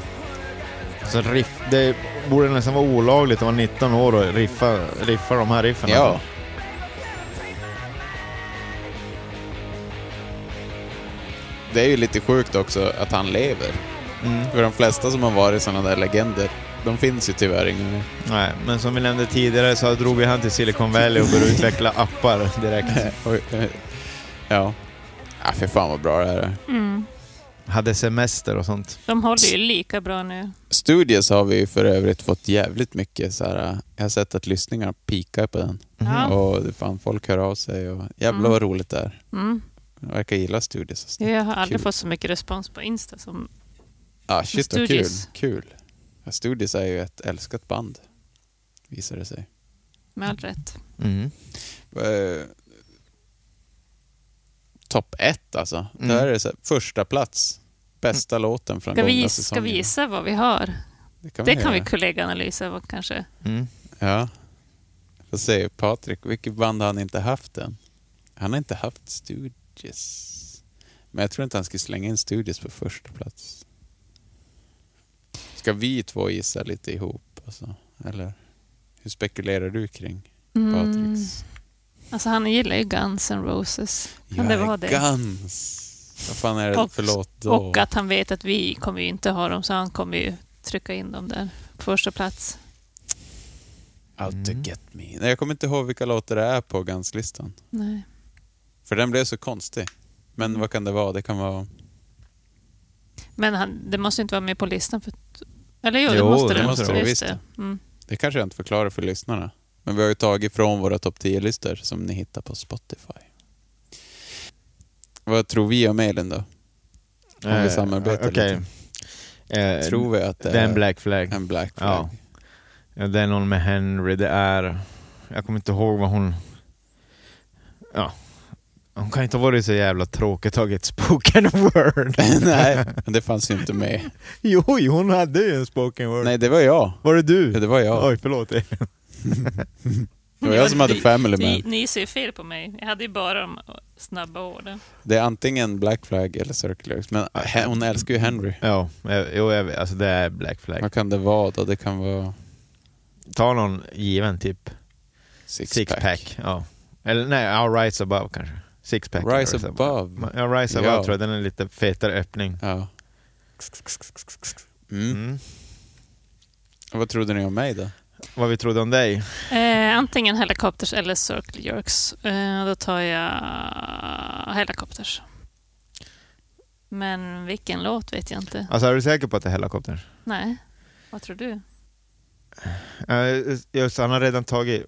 Alltså, riff, det borde nästan vara olagligt att vara 19 år och riffa, riffa de här riffen.
Ja. Det är ju lite sjukt också att han lever.
Mm.
För de flesta som har varit sådana där legender, de finns ju tyvärr inga mer.
Nej, men som vi nämnde tidigare så drog ju han till Silicon Valley och började utveckla appar direkt.
Oj, eh, Ja. Ah, för fan vad bra det här är.
Mm.
Hade semester och sånt.
De håller ju lika bra nu.
Studios har vi ju för övrigt fått jävligt mycket så här. eh, Jag har sett att lyssningar pikar på den.
Ja.
Och det fan, folk hör av sig och jävlar
Mm.
vad roligt det är.
Mm.
De verkar gilla Studios. och sånt.
Jag har aldrig
Kul.
fått så mycket respons på Insta som...
Ah, shit vad kul.
Studios.
Kul. Ja, Studios är ju ett älskat band. Visar det sig.
Med all rätt.
Mm.
Eh, Topp ett alltså.
Mm.
Det här är så här, första plats. Bästa låten från
Ska
gångna
vi, gissa- ska
säsongen.
vi gissa vad vi har?
Det kan
Det
vi
kan vi
göra.
kolleganalysa vad kanske.
Mm.
Ja. Får se, Patrik, vilket band har han inte haft än? Han har inte haft Stooges. Men jag tror inte han skulle slänga in Stooges på första plats. Ska vi två gissa lite ihop? Alltså? Eller hur spekulerar du kring
Mm.
Patriks?
Alltså han gillar ju Guns N' Roses. Kan det vara det?
Guns! Vad fan är det
Och-
för låt då?
Och att han vet att vi kommer ju inte ha dem, så han kommer ju trycka in dem där på första plats.
Out to get me. Nej, jag kommer inte ihåg vilka låtar det är på Guns-listan.
Nej.
För den blev så konstig.
Mm.
Men vad kan det vara? Det kan vara...
Men han, det måste ju inte vara med på listan. För, att- eller jo, det
Jo,
måste
det
det.
måste det,
Just
visst.
det. Mm.
Det kanske jag inte förklarar för lyssnarna. Men vi har ju tagit från våra topp 10-listor som ni hittar på Spotify. Vad tror vi om Elin då? Om vi
Eh,
samarbetar
okej. Eh,
Tror vi att det
Det är en
är
black flag.
en black flag?
Ja. Ja, det är någon med Henry, det är... Jag kommer inte ihåg vad hon... Ja. Hon kan inte ha varit så jävla tråkig och tagit spoken word.
Nej, men det fanns ju inte med.
jo, jo, hon hade ju en spoken word.
Nej, det var jag.
Var det du?
Det var jag.
Oj, förlåt.
Det var jag som hade Family
Ni,
Man.
ni ser ju fel på mig. Jag hade ju bara de snabba orden.
Det är antingen black flag eller circulars. Men he- hon älskar ju Henry.
ja, eh, jo, jag vet. Alltså det är black flag.
Vad kan det vara då? Det kan vara
Ta någon given typ.
six,
Sixpack.
pack.
Ja. Eller nej, ja, Rise Above kanske. Sixpack.
Rise Above.
Ja, Rise Above
Ja.
tror jag. Den är lite fetare öppning.
Ja. Mm.
Mm.
Vad trodde ni om mig då?
Vad vi trodde om dig.
Eh, antingen Helicopters eller Circle Jerks. Eh, då tar jag Helicopters. Men vilken låt vet jag inte.
Alltså är du säker på att det är helikoptern?
Nej, vad tror du?
Eh, Just, han har redan tagit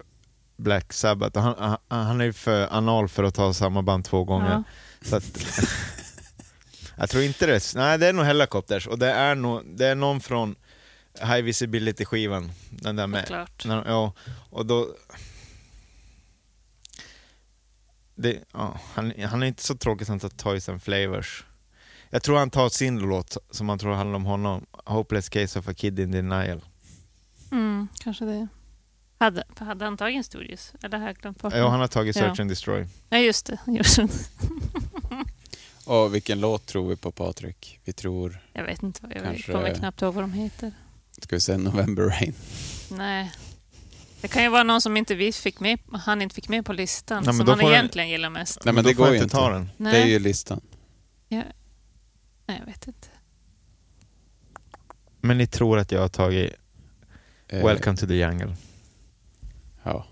Black Sabbath och han, han- han är ju för anal för att ta samma band två gånger.
Ja.
Så att, jag tror inte det. är- Nej, det är nog Helicopters och det är, nog, det är någon från High Visibility-skivan. Den där med...
Såklart.
När, de- ja, och då... Det, ja, han, han är inte så tråkig som han tar Toys and Flavors. Jag tror han tar sin låt som han tror handlar om honom. Hopeless Case of a Kid in Denial.
Mm, kanske det. Hade, hade han tagit en Studios? Eller har jag glömt bort
Ja,
den?
han har tagit Search
Ja.
and Destroy.
ja, just det. Just det.
Och vilken låt tror vi på Patrik? Vi tror...
Jag vet inte vad jag
Kanske-
kommer knappt ihåg vad de heter.
Ska vi säga November Rain?
Nej. Det kan ju vara någon som inte vi fick med, han inte fick med på listan,
Nej, men
som
då
han
får den-
egentligen gillar mest.
Nej men,
då
det
får
går
jag
ju inte.
ta den.
Nej.
Det är ju listan.
Nej, jag vet inte.
Men ni tror att jag har tagit
Eh,
Welcome to the Jungle.
Ja.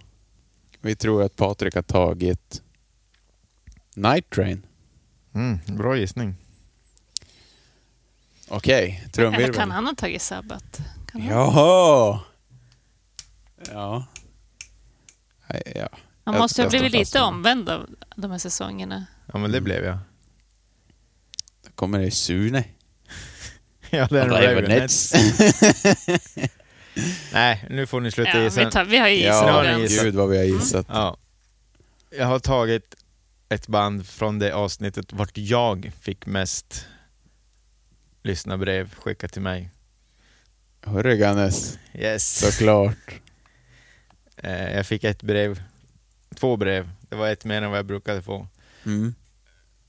Vi tror att Patrik har tagit Night Train.
Mm, bra gissning.
Okej,
Eller
trumvirvel.
kan han ha tagit sabbat? Kan han?
Jaha! Ja. Nej, ja.
han
jag-
måste ju ha
jag står
blivit
fast
lite
vid det.
omvänd av de här säsongerna.
Ja, men det blev jag.
Då kommer det Sune.
ja, det är en Ravenets.
Ravenets.
Nej, nu får ni sluta
Ja,
gissa.
vi, tar, vi har ju gissat
nu har
Ja,
ni
överens.
gissat.
gud vad vi har gissat.
Ja. Jag har tagit ett band från det avsnittet vart jag fick mest lyssnarbrev skickat till mig.
Hurriganes,
Yes.
såklart.
Eh, Jag fick ett brev, två brev. Det var ett mer än vad jag brukade få.
Mm.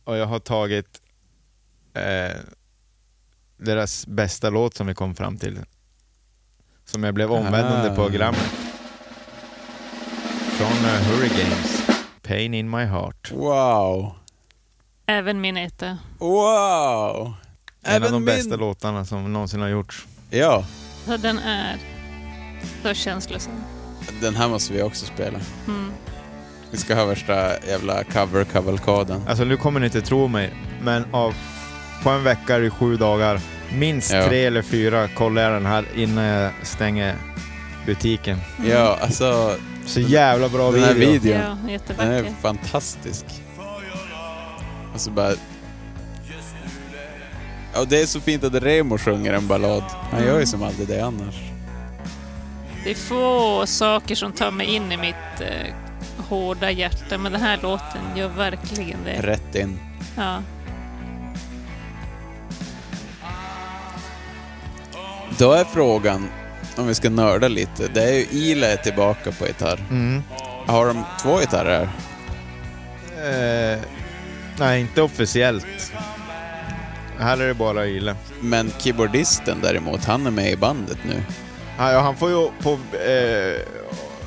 Och jag har tagit eh, deras bästa låt som vi kom fram till. Som jag blev omvänd under
Ah.
programmet. Från eh, Hurricanes. Pain in my heart.
Wow.
Även min etta.
Wow!
En av de bästa låtarna som någonsin har gjorts.
Ja,
Så den är så känslosam.
den här måste vi också spela.
Mm.
Vi ska ha värsta jävla cover-kavalkaden.
Alltså nu kommer ni inte tro mig, men av, på en vecka är det sju dagar. Minst
Ja.
tre eller fyra kollar jag den här innan jag stänger butiken.
Ja, alltså
Så jävla Mm. bra
den här
video.
videon.
Ja,
Den
jättevacker.
är fantastisk. Och så bara... Ja, det är så fint att Remo sjunger en ballad. Han gör ju som aldrig det annars.
Det är få saker som tar mig in i mitt eh, hårda hjärta, men den här låten gör verkligen det.
Rätt in.
Ja.
Då är frågan, om vi ska nörda lite, det är ju Ila är tillbaka på gitarr.
Mm.
Har de två gitarrer?
Eh, nej, inte officiellt. Här är det bara Yle.
Men keyboardisten däremot, han är med i bandet nu.
Han, ja, han får ju på eh,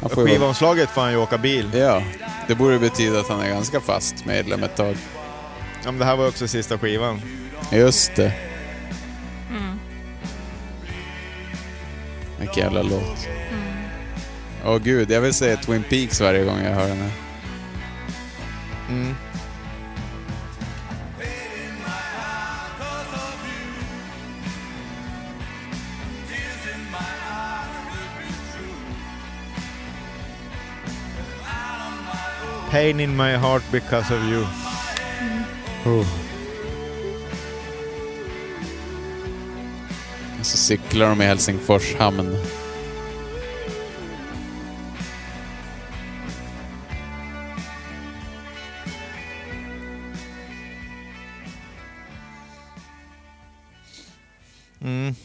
Han får ju vara-
skivomslaget får han ju åka bil.
Ja, det borde betyda att han är ganska fast medlem ett tag.
Ja, men det här var ju också sista skivan.
Just det.
Mm.
Vilken jävla låt. Åh gud, jag vill säga Twin Peaks varje gång jag hör den här.
Mm. Pain in my heart because of you.
Oh. Och så cyklar de i Helsingfors hamn.
Mm.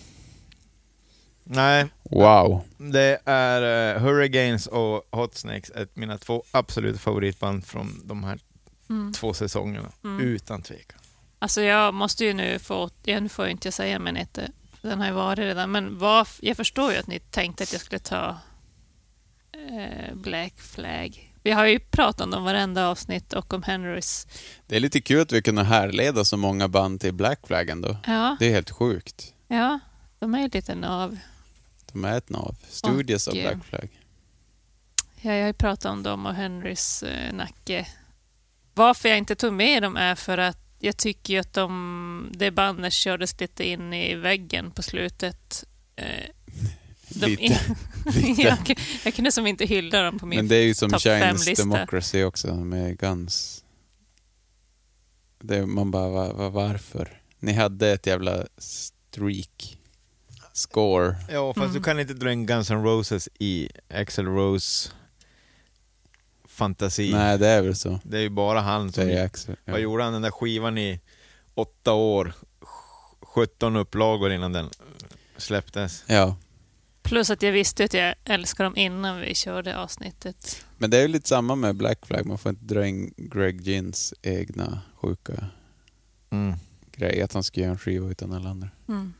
Nej,
Wow.
det är eh, Hurricanes och Hot Snakes, ett, mina två absoluta favoritband från de här
Mm.
två säsongerna.
Mm.
Utan tvekan.
Alltså jag måste ju nu få, ja, nu får jag inte säga men inte, den har ju varit redan, men varf- jag förstår ju att ni tänkte att jag skulle ta eh, Black Flag. För Vi har ju pratat om dem varenda avsnitt och om Henrys.
Det är lite kul att vi kunde härleda så många band till Black Flag ändå.
Ja,
Det är helt sjukt.
ja, de är ju lite nav.
De är ett nav. Studios av
Och, eh,
Black Flag.
Ja, jag har ju pratat om dem och Henrys eh, nacke. Varför jag inte tog med dem är för att jag tycker ju att de, det bandet kördes lite in i väggen på slutet. Eh, de
Lite.
jag, jag kunde som inte hylla dem på min...
Men det är ju som
topp
Chinese
fem-lista.
Democracy också med Guns. Det, är- man bara, va, va, varför? Ni hade ett jävla streak. Score.
Ja, fast du kan inte dra in Guns N' Roses i Axl Rose fantasi.
Nej, det är väl så.
Det är ju bara han som...
Säger Axel.
Vad
Ja.
gjorde han den där skivan i åtta år? sj- 17 upplagor innan den släpptes.
ja.
Plus att jag visste att jag älskade dem innan vi körde avsnittet.
Men det är ju lite samma med Black Flag. Man får inte dra in Greg Gins egna sjuka
Mm.
grej. Att han ska göra en skiva utan alla andra.
Mm.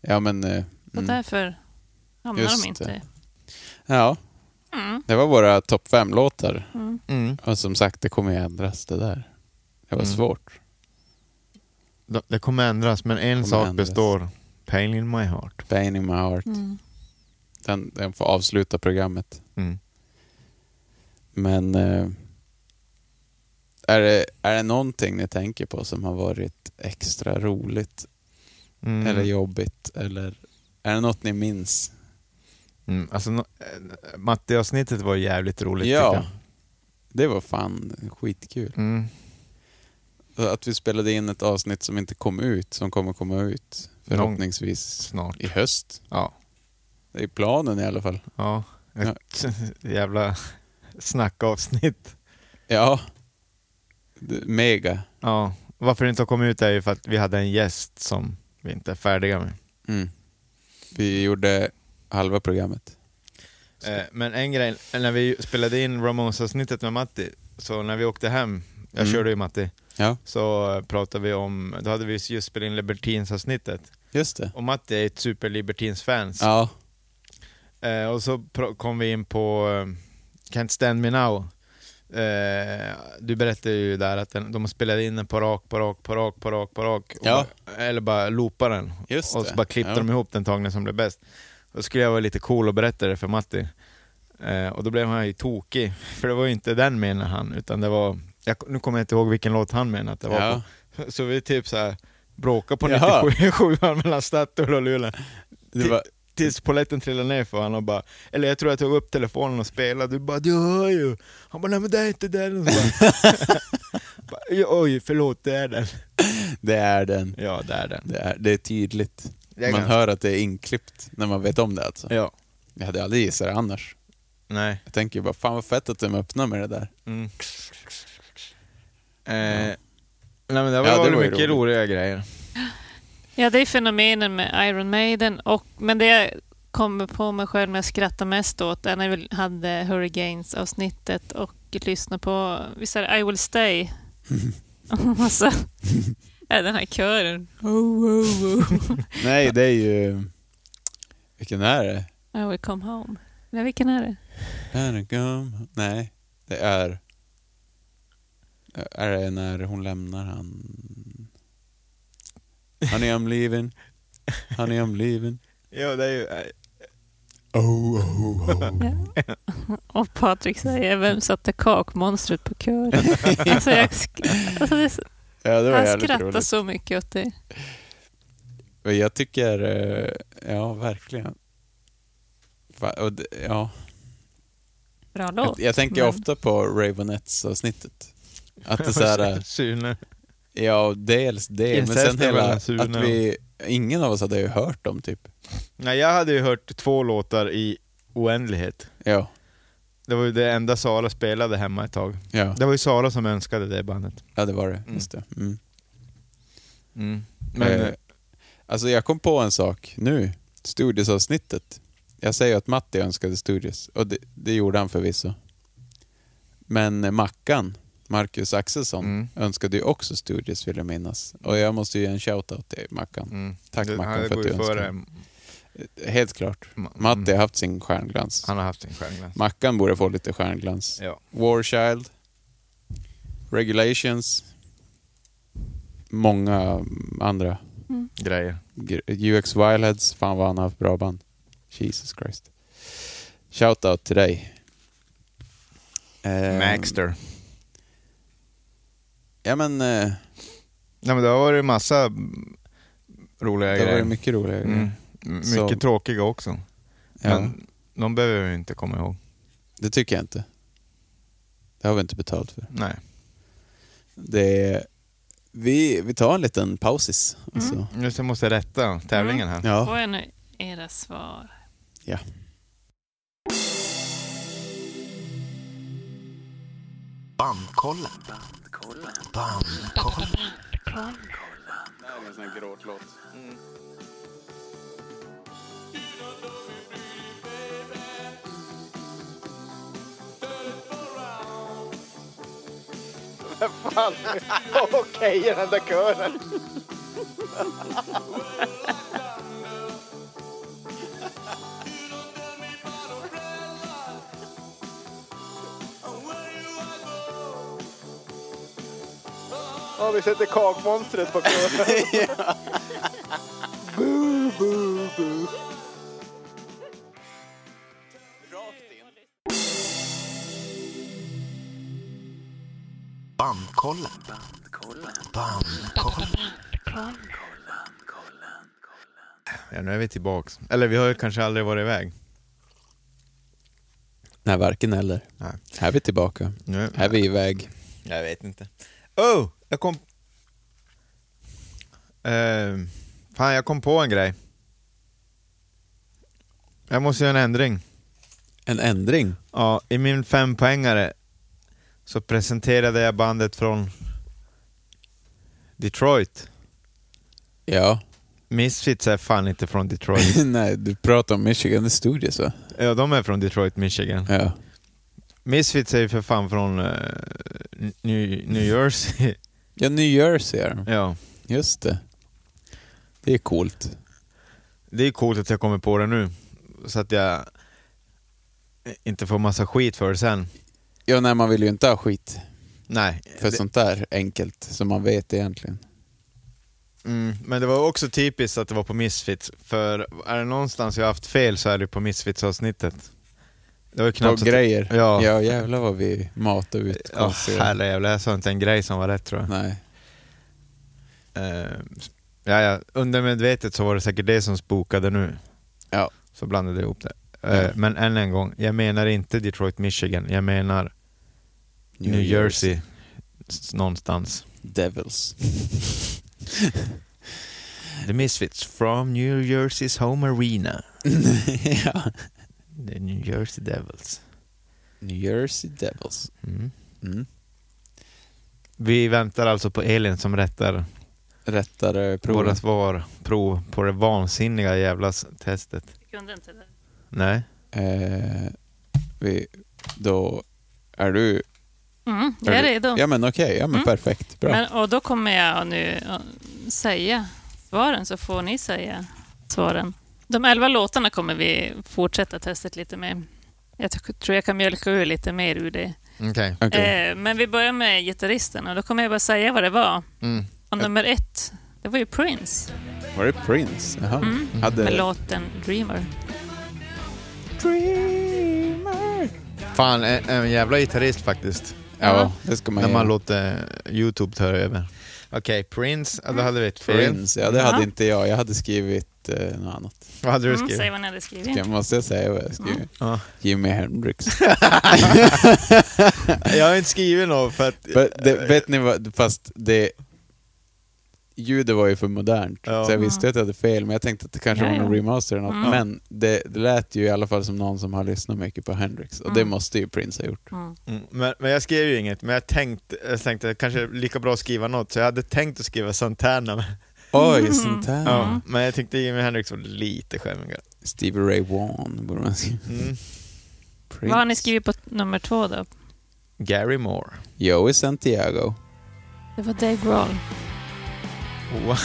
Ja, men... eh,
Och
Mm.
därför hamnar
Just
de inte...
Ja,
Mm.
det var våra topp fem-låtar.
Mm.
Och som sagt, det kommer ju ändras det där. Det var
Mm.
svårt.
De- Det kommer ändras, men en
Kommer
sak
ändras.
består. Pain in my heart.
Pain in my heart.
Mm.
Den, den får avsluta programmet.
Mm.
Men eh, är, det, är det någonting ni tänker på som har varit extra roligt
Mm.
eller jobbigt? Eller är det något ni minns?
Mm. Alltså, no- eh, Matti-avsnittet var jävligt roligt
Ja.
tycker
Det var fan skitkul.
jag. Mm.
Att vi spelade in ett avsnitt som inte kom ut, som kommer komma ut förhoppningsvis
Snart.
i höst.
Ja.
Det är planen i alla fall.
ja. Ett jävla snackavsnitt.
Ja. Det- Mega.
Ja. Varför det inte har kommit ut är ju för att vi hade en gäst som vi inte är färdiga med.
Mm. Vi gjorde halva programmet. Så.
Eh, men en grej, när vi spelade in Ramones-avsnittet med Matti, så när vi åkte hem, jag
Mm.
körde ju Matti,
Ja,
så eh, pratade vi om, då hade vi just spelat in Libertines-avsnittet,
just det.
och Matti är ett super Libertines-fans.
Ja,
Eh, och så pr- kom vi in på eh, Can't Stand Me Now. Eh, du berättade ju där att den, de spelade in den på rak, på rak, på rak, på rak, på rak. Och
Ja.
bara- Eller bara loopade den.
Just
och så
det.
bara klippte
Ja.
de ihop den tagningen som blev bäst. Då skulle jag vara lite cool och berätta det för Matti. Eh, och då blev han ju tokig. För det var ju inte den menade han, utan det var... Jag, nu kommer jag inte ihåg vilken låt han menade att det var
Ja.
på. Så vi typ så här bråkade på
Jaha.
97 mellan Statoil och Luleå.
det var,
Tills polletten trillade ner för honom och bara, eller jag tror jag tog upp telefonen och spelade, du bara du hör ju. Han bara nej men det är inte den. Och så bara, "Ja, Oj förlåt det är den.
det är den.
Ja det är den.
Det är, det är tydligt.
Det är
man
ganska-
hör att det är inklippt när man vet om det alltså.
Ja.
Jag hade aldrig gissat det annars.
Nej.
Jag tänker ju bara, fan vad fett att de öppnar med det där.
Mm. Eh, Nej men det var,
Ja, det
väl
var ju
mycket
roligt.
roliga grejer.
Ja, det är fenomenen med Iron Maiden. Och, men det jag kommer på mig själv när jag skrattar mest åt är när vi hade Hurricanes-avsnittet och lyssnade på, visst är det I Will Stay? och så är den här kören. Oh, oh, oh.
Nej, det är ju... Vilken är det?
I will come home. Nej, vilken är det?
Bergam. Nej, det är... Är det när hon lämnar han... Honey I'm leaving. Honey I'm leaving.
Ja det är ju,
Oh, oh, oh.
Ja. Och Patrik säger, vem satte kakmonstret på kören? alltså, jag sk- alltså, det är så-
Ja, det var
han
jävligt
skrattar
roligt.
så mycket åt det.
Och Jag tycker, eh, ja verkligen. Va- och det- Ja.
Bra låt.
Jag, jag tänker
men-
ofta på Ravenettes-avsnittet. Att det är så här,
Sune.
ja dels det, men
Incest
sen
är väl
hela,
en sune,
att vi, ingen av oss hade ju hört dem typ.
Nej jag hade ju hört två låtar i oändlighet.
Ja,
Det var ju det enda Sala spelade hemma ett tag.
ja,
Det var ju Sala som önskade det bandet.
ja det var det.
Mm.
Just det. Mm.
Men,
eh, alltså jag kom på en sak nu, Studios-avsnittet. Jag säger att Matti önskade Studios, och det, det gjorde han förvisso. Men eh, Mackan, Marcus Axelsson,
Mm.
önskade ju också Studios vill jag minnas. Och jag måste ju ge en shout-out till Mackan.
Mm.
Tack, Mackan,
han
för att
går
du
ju
önskar.
före
Helt klart.
Ma- mm.
Matti har haft sin stjärnglans.
Han har haft sin stjärnglans.
Mackan borde få lite stjärnglans.
Ja.
Warchild. Regulations. Många andra.
Mm.
Grejer.
Gr- UX Wildheads. Fan vad han har haft bra band. Jesus Christ. Shoutout till dig. Ehm,
Maxter.
Ja men, eh,
Nej men det har varit massa mm, roliga
det har
grejer.
varit mycket roligare
Mm.
grejer.
M-
Så-
Mycket tråkiga också.
ja,
Men de behöver vi inte komma ihåg.
Det tycker jag inte. Det har vi inte betalt för.
Nej.
Det är, vi, vi tar en liten pausis. och så-
Nu så måste jag rätta tävlingen här.
Ja.
Får jag nu era svar?
Ja.
Bandkollen. Bandkollen.
Ja, vi sätter kakmonstret på kudden.
Bandkollen. Bandkollen.
Ja, nu är vi tillbaks. Eller vi har ju kanske aldrig varit iväg.
Nej, varken eller.
Nej.
Här är vi tillbaka.
Nu.
Här är vi iväg.
Jag vet inte. Oh, jag kom... Eh, fan, jag kom på en grej. Jag måste göra en ändring.
En ändring.
Ja, I min fempoängare så presenterade jag bandet från Detroit.
Ja.
Misfits är fan inte från Detroit.
Nej, du pratar om Michigan Studios va?
ja, de är från Detroit, Michigan.
Ja.
Misfits är ju för fan från eh, New, New Jersey.
Ja, New Jersey är de.
ja.
Just det. Det är coolt.
Det är coolt att jag kommer på det nu. Så att jag inte får massa skit för det sen.
Ja, nej, man vill ju inte ha skit
Nej.
för sånt där enkelt som man vet egentligen.
Mm, men det var också typiskt att det var på Misfits. För är det någonstans jag har haft fel så är det på Misfits-avsnittet. Det var ju
Ta
knappt... att-
grejer.
Ja.
ja, jävlar vad vi matar ut
Ja,
konstiga...
herre jävlar, jag sa inte en grej som var rätt tror jag.
nej.
Eh, ja, ja. Undermedvetet så var det säkert det som spokade nu.
Ja.
Så blandade jag ihop det. Eh,
Ja.
Men än en gång, jag menar inte Detroit, Michigan. Jag menar New, Jersey. S- Någonstans.
Devils.
The Misfits from New Jersey's home arena.
ja.
The New Jersey Devils.
New Jersey Devils.
Mm.
Mm.
Vi väntar alltså på Elin som rättar
Rättare prov.
våra svar, prov på det vansinniga jävla s- testet.
Jag kunde inte det.
Nej,
Eh, vi, då är du...
Mm,
är
jag är
du-
redo.
Ja men okej, ja men
Mm.
perfekt. Bra.
Men, och då kommer jag nu eh, säga svaren, så får ni säga svaren. De elva låtarna kommer vi fortsätta testet lite med. Jag t- tror jag kan mjölka ur lite mer ur det.
okej.
Okej.
Eh, men vi börjar med gitarristen och då kommer jag bara säga vad det var.
Mm.
Och nummer ett, det var ju Prince
Var det Prince? Jaha.
mm. med
Hade...
låten Dreamer.
Fan, en, en jävla gitarrist faktiskt.
Ja, det ska man
När man
göra.
låter Youtube ta över. Okej, Prince, ja, då hade vi ett fel.
Prince, ja det hade
Ja.
inte jag. Jag hade skrivit eh, något annat.
Vad hade du
Mm, säg
skrivit?
vad ni hade skrivit.
Ska, måste jag säga vad jag skrev?
Ja.
Jimi Hendrix.
Jag har inte skrivit något för att...
För det, vet ni vad, fast det... Ljudet var ju för modernt,
Ja.
så jag visste att jag hade fel, men jag tänkte att det kanske
Ja,
var någon
ja.
remaster eller något.
Mm.
Men det, det lät ju i alla fall som någon som har lyssnat mycket på Hendrix, och det måste ju Prince ha gjort.
Mm.
Mm, men, men jag skrev ju inget, men jag tänkte, jag tänkte kanske lika bra att skriva något, så jag hade tänkt att skriva Santana. men-
Mm.
Oj, sånt här.
Ja, men jag tyckte Jimi Hendrix var lite skämmigare.
Stevie Ray Vaughan borde man skriva.
Mm.
Prince.
Vad har ni skrivit på nummer två då?
Gary Moore.
Joey Santiago.
Det var Dave Grohl
Wow.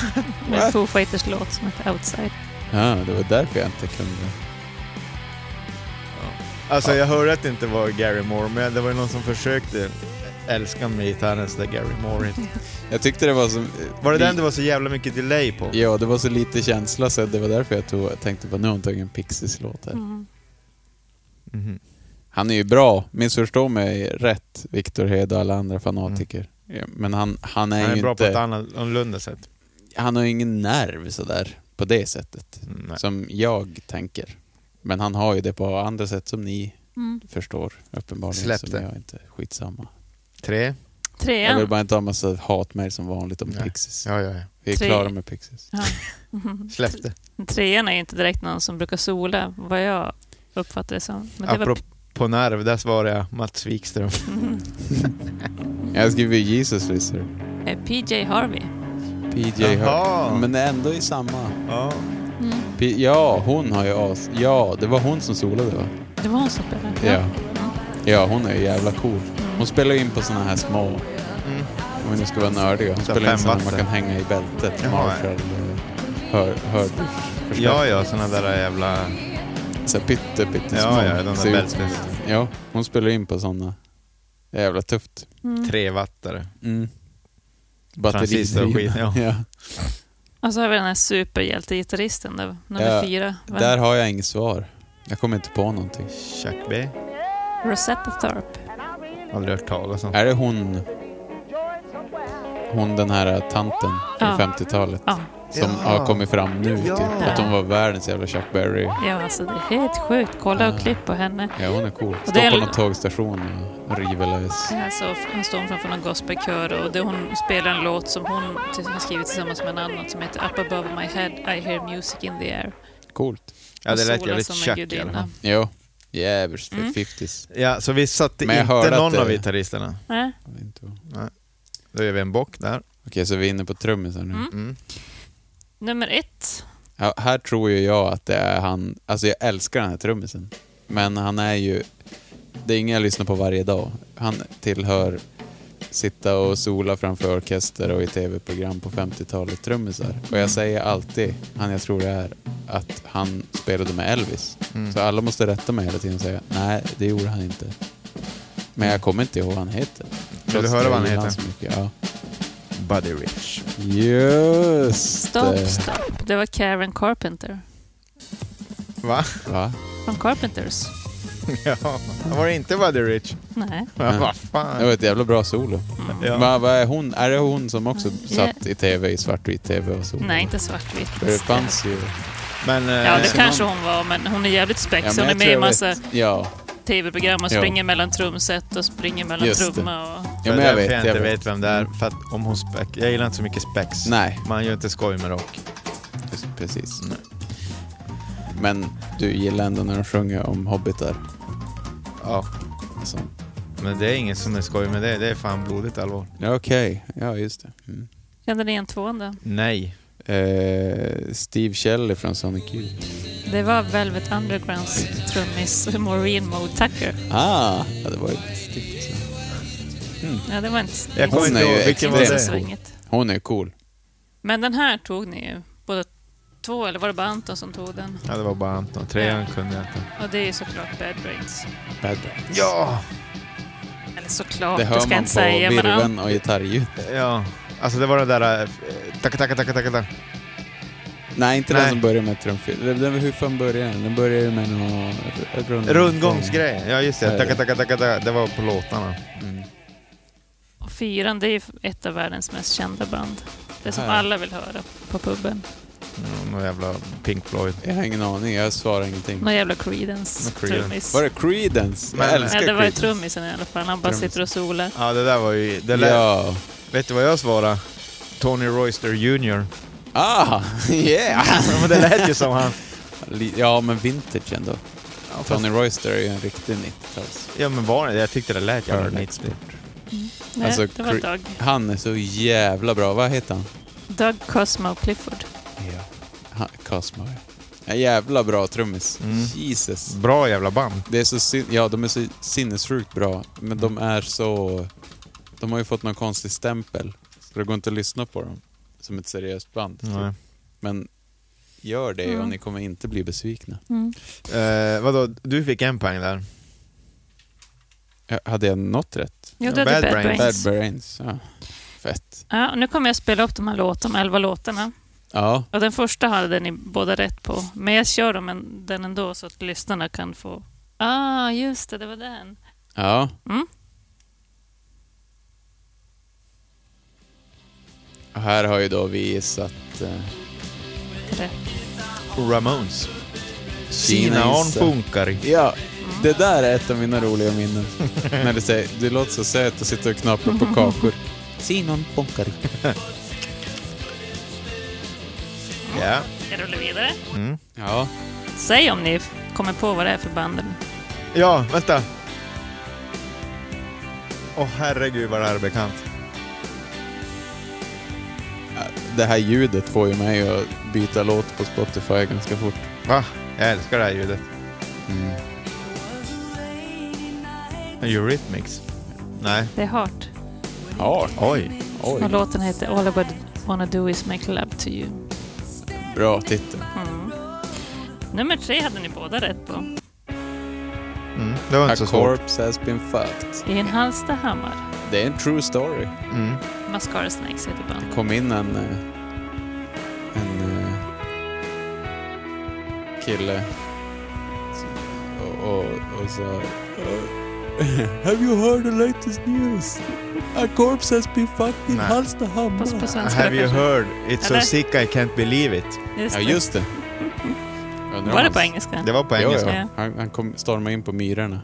med Foo Fighters låt som heter Outside.
Ja, det var därför jag inte kunde.
Alltså jag hörde att det inte var Gary Moore, men det var ju någon som försökte älska med gitarren så där Gary Moore inte.
Jag tyckte det var eh, så...
Var det den det var så jävla mycket delay på?
Ja, det var så lite känsla så det var därför jag tog, tänkte på nu har hon tagit en Pixies-låt här.
Mm.
Mhm.
Han är ju bra, missförstå mig rätt, Victor Hed och alla andra fanatiker. Ja, Men han, han är
Han är
ju
bra på ett
inte...
annat- annorlunda sätt.
Han har ju ingen nerv sådär, på det sättet.
Mm, nej.
Som jag tänker. Men han har ju det på andra sätt som ni
Mm.
förstår uppenbarligen.
Släpp
som
det.
jag inte. Skitsamma.
Tre?
Jag vill
Trean.
bara inte ha massa hatmejl som vanligt om
Nej.
Pixies.
Ja, ja, ja.
Vi är
Tre.
klara med Pixies.
Släpp det.
Mm. Trean är ju inte direkt någon som brukar sola, vad jag uppfattar det som. Men det var...
Apropå nerv, där svarar jag Mats Wikström.
Jag skriver Jesus Lizard.
eh, PJ Harvey.
PJ
Jaha.
Hurt. Men ändå i samma...
Ja.
Mm.
P- ja, hon har ju as... Ja, det var hon som solade va?
Det var hon som spelade.
Ja. Ja, hon är ju jävla cool.
Mm.
Hon spelar ju in på såna här små...
Mm.
Om vi nu ska vara nördiga. Hon
Så
spelar in såna man
femvatten.
kan hänga i bältet.
Jaha.
Marshall... eh, Hör, hör,
Ja, ja, såna där jävla...
Så här pytte, pytte små.
Ja, ja, de
Ser
där
ut-
bältes...
Ja, hon spelar in på såna. Det är jävla tufft.
Trevattare.
Mm.
Transistor och skit, ja.
ja.
Och så har vi den här superhjältegitarristen, där, nummer
Ja,
fyra. Vem?
Där har jag inget svar. Jag kommer inte på någonting.
Chuck B.
Rosetta Tharpe.
Aldrig hört talas om.
Är det hon... Hon den här tanten från
Ja.
50-talet
Ja,
som
Ja.
har kommit fram nu
Ja.
typ. Att hon var världens jävla Chuck Berry.
ja, alltså det är helt sjukt. Kolla och klipp på henne.
Ja, hon är cool.
det
Står
är-
på någon tågstation och river lös.
Alltså, hon står framför någon gospelkör och det hon spelar en låt som hon till- har skrivit tillsammans med en annan som heter Up above my head I hear music in the air.
Coolt.
Ja, det
Och
lät
sola
jävligt
som en
Chuck i
gudinna.
alla fall.
Jo. Jävligt för
Mm.
50s.
Ja, så vi satte
Men jag
inte
hörde att
någon
det-
av gitarristerna.
Nej.
Jag vet inte vad.
Då gör vi en bock där.
Okej, så vi är inne på trummisar nu.
Mm.
Nummer ett.
Ja, här tror ju jag att det är han, alltså jag älskar den här trummisen. Men han är ju, det är ingen jag lyssnar på varje dag. Han tillhör sitta och sola framför orkester och i tv-program på 50-talet trummisar. Och jag säger alltid, han jag tror det är, att han spelade med Elvis.
mm.
Så alla måste rätta mig hela tiden och säga, nej det gjorde han inte. Men jag kommer inte ihåg vad han heter.
Vill du höra vad han heter?
Ja.
Buddy Rich.
Just
Stop,
det.
stop. Det var Karen Carpenter.
Va?
Va?
Från Carpenters.
Ja. Var det inte Buddy Rich?
Nej.
Ja,
Nej.
vad
Det var
fan.
ett jävla bra solo.
Ja.
Va, vad är hon? Är det hon som också
Ja.
satt i tv, i svartvit tv och så?
Mm. Nej, inte svartvitt.
För det fanns ju...
Men... eh,
Ja, det
som
kanske
någon-
hon var, men hon är jävligt
Ja,
spex. hon
men
är
jag
med i
tror jag
massa
vet. Ja.
tv-program och
Ja.
springer mellan trumset och springer mellan
Just det.
trumma och...
ja,
för
men
därför
jag vet. Mm.
jag inte vet vem det är. För att om hon spex, jag gillar inte så mycket spex.
Nej,
Man gör inte skoj med rock.
pre- precis. Men du gillar ändå när de sjunger om hobbitar
Ja.
och sånt.
Men det är ingen som är skoj med det. Det är fan blodigt allvar.
Ja, okej. Ja, just det. Mm.
Kände ni igen tvåan då?
Nej.
Eh, Steve Shelley från Sonic Youth.
Det var Velvet Undergrounds trummis Maureen Mo Tucker.
Ah, ja, det var ju ett stift. så.
Ja, det var inte...
Jag
Hon
kommer inte
är ju
ihåg vilken var
Inte så
extrem.
det.
svänget.
Hon är cool.
Men den här tog ni ju. Båda två, eller var det bara Anton som tog den?
Ja, det var bara Anton. Trean kunde jag inte.
Och det är ju såklart Bad Brains.
Bad Brains.
Ja!
Eller såklart,
Det
det,
hör
ska jag
man
inte
på
säga. Men Anton,
virveln och gitarrljudet.
Ja. Alltså det var den där... eh, Tacka, tacka, tacka, tacka, tacka.
Nej, inte den
Nej.
som börjar med trumfil. Den, den, hur fan börjar den? Den börjar ju med någon rund...
Rundgångsgrej. Mm. Ja, just det.
Nej,
Tacka,
det-
tacka, tacka, tacka. Det var på låtarna.
Mm.
och Fyran, det är ju ett av världens mest kända band. Det som
Här.
alla vill höra på puben.
Ja, Någon jävla Pink Floyd.
Jag har ingen aning, jag svarar ingenting.
Någon jävla Creedence
Någon Creedence.
trummis.
Var det Creedence?
Men-
jag
Ja,
älskar
det var ju
Creedence.
trummisen i alla fall. Han bara
Trummis.
sitter och solar.
Ja, det där var ju... Det lät,
Ja.
Vet du vad jag svarade? Tony Royster Jr.
Ah, yeah!
Ja, men det lät ju som han.
Li- Ja, men vintage ändå.
Ja, fast,
Tony Royster är ju en riktig alltså. 90-tals...
ja men var det? Jag tyckte det lät jävla
Örnexport.
90.
Nej,
Alltså,
det var
Cre-
Doug.
Han är så jävla bra. Vad heter han?
Doug Cosmo Clifford.
Ja. Han, Cosmo, ja. En jävla bra trummis.
Mm.
Jesus.
Bra jävla band.
Det är så sin- ja, de är så sinnessjukt bra, men de är så... De har ju fått någon konstig stämpel, så det går inte att lyssna på dem som ett seriöst band.
Nej.
typ. Men Gör det och
Mm.
ni kommer inte bli besvikna.
Mm.
Eh, vadå, du fick en poäng där.
Ja, Hade jag något rätt?
Jag
Ja, Bad
drar till Bad
Brains.
Brains.
Bad Brains. Ja. Fett.
Ja, och nu kommer jag spela upp de här låt, de elva låtarna.
Ja,
Och den första hade ni båda rätt på. Men jag kör dem en, den ändå så att lyssnarna kan få... Ah, just det, det var den.
ja.
Mm.
Och här har ju då vi satt eh,
Rätt.
Ramones.
Kina
Sina on
Isa.
funkar.
Ja, det där är ett av mina roliga minnen. När du säger, du låter så söt och sitter och knaprar på kakor. Sinon bonkar.
Ja.
Jag rullar vidare.
Mm.
Ja.
Säg om ni kommer på vad det är för band.
Ja, vänta. Åh herregud vad det här är bekant.
Det här ljudet får ju mig att byta låt på Spotify ganska fort. Mm.
Va? Jag älskar det här ljudet. Eurythmics? Nej.
Det är Heart.
Ja,
Oj.
Och
oj.
låten heter All I Would Wanna Do Is Make Love To You. Mm.
Bra titel.
Nummer tre hade ni båda rätt på.
Mm, det var
A
inte så svårt.
corpse has been fucked.
I en Hallstahammar.
Det är en true story.
Mm.
Mascara Snakes heter bandet.
kom in en... eh, En... eh, Kille. Och, och, och sa... "Uh, Have you heard the latest news? A corpse has been fucked in
Nej.
Hallstahammar.
På, på svenska
Have
då
you
kanske.
heard? It's so
Eller?
sick I can't believe it.
Just
Ja,
det.
just det.
Var det på engelska?
Det var på
Jo,
engelska.
ja. Han, han kom, stormade in på myrorna.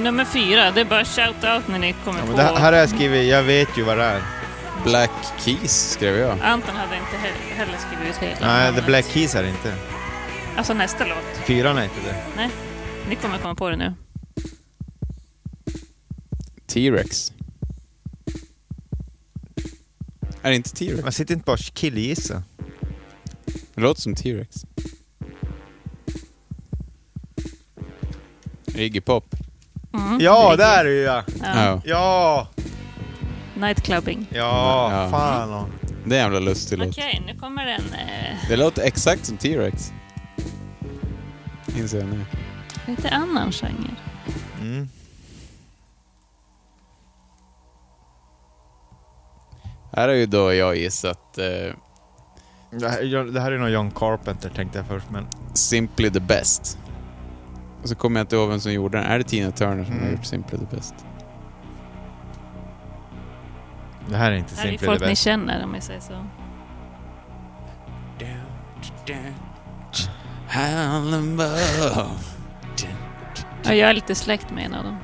Nummer fyra, det är bara shout-out när ni kommer
Ja, men
på.
det här här har jag skrivit, jag vet ju vad det är.
Black Keys skrev jag.
Anton hade inte he- heller skrivit ut hela
Nej,
namnet.
The Black Keys är det inte.
Alltså nästa låt.
Fyran är inte det.
Nej, ni kommer komma på det nu.
T-Rex. Är det inte T-Rex?
Man sitter inte bara och killgissa.
Det låter som T-Rex. Iggy Pop.
Mm.
Ja, där är ju jag!
Ja.
Ja!
Nightclubbing.
Ja,
Ja.
fan och.
Det är en jävla lustig
Okej,
låt.
nu kommer den. Eh,
Det låter exakt som T-Rex. Inser jag nu.
lite annan genre.
Mm.
Här har ju då jag gissat eh,
Det här, det här är nog John Carpenter tänkte jag först, men...
Simply the Best. Och så kommer jag inte ihåg vem som gjorde den. Är det Tina Turner som har
Mm.
gjort Simply the Best?
Det här är inte
Här är
Simply
ju
the
folk ni
Best.
känner om jag säger så.
High and low.
Ja, jag är lite släkt med en av dem.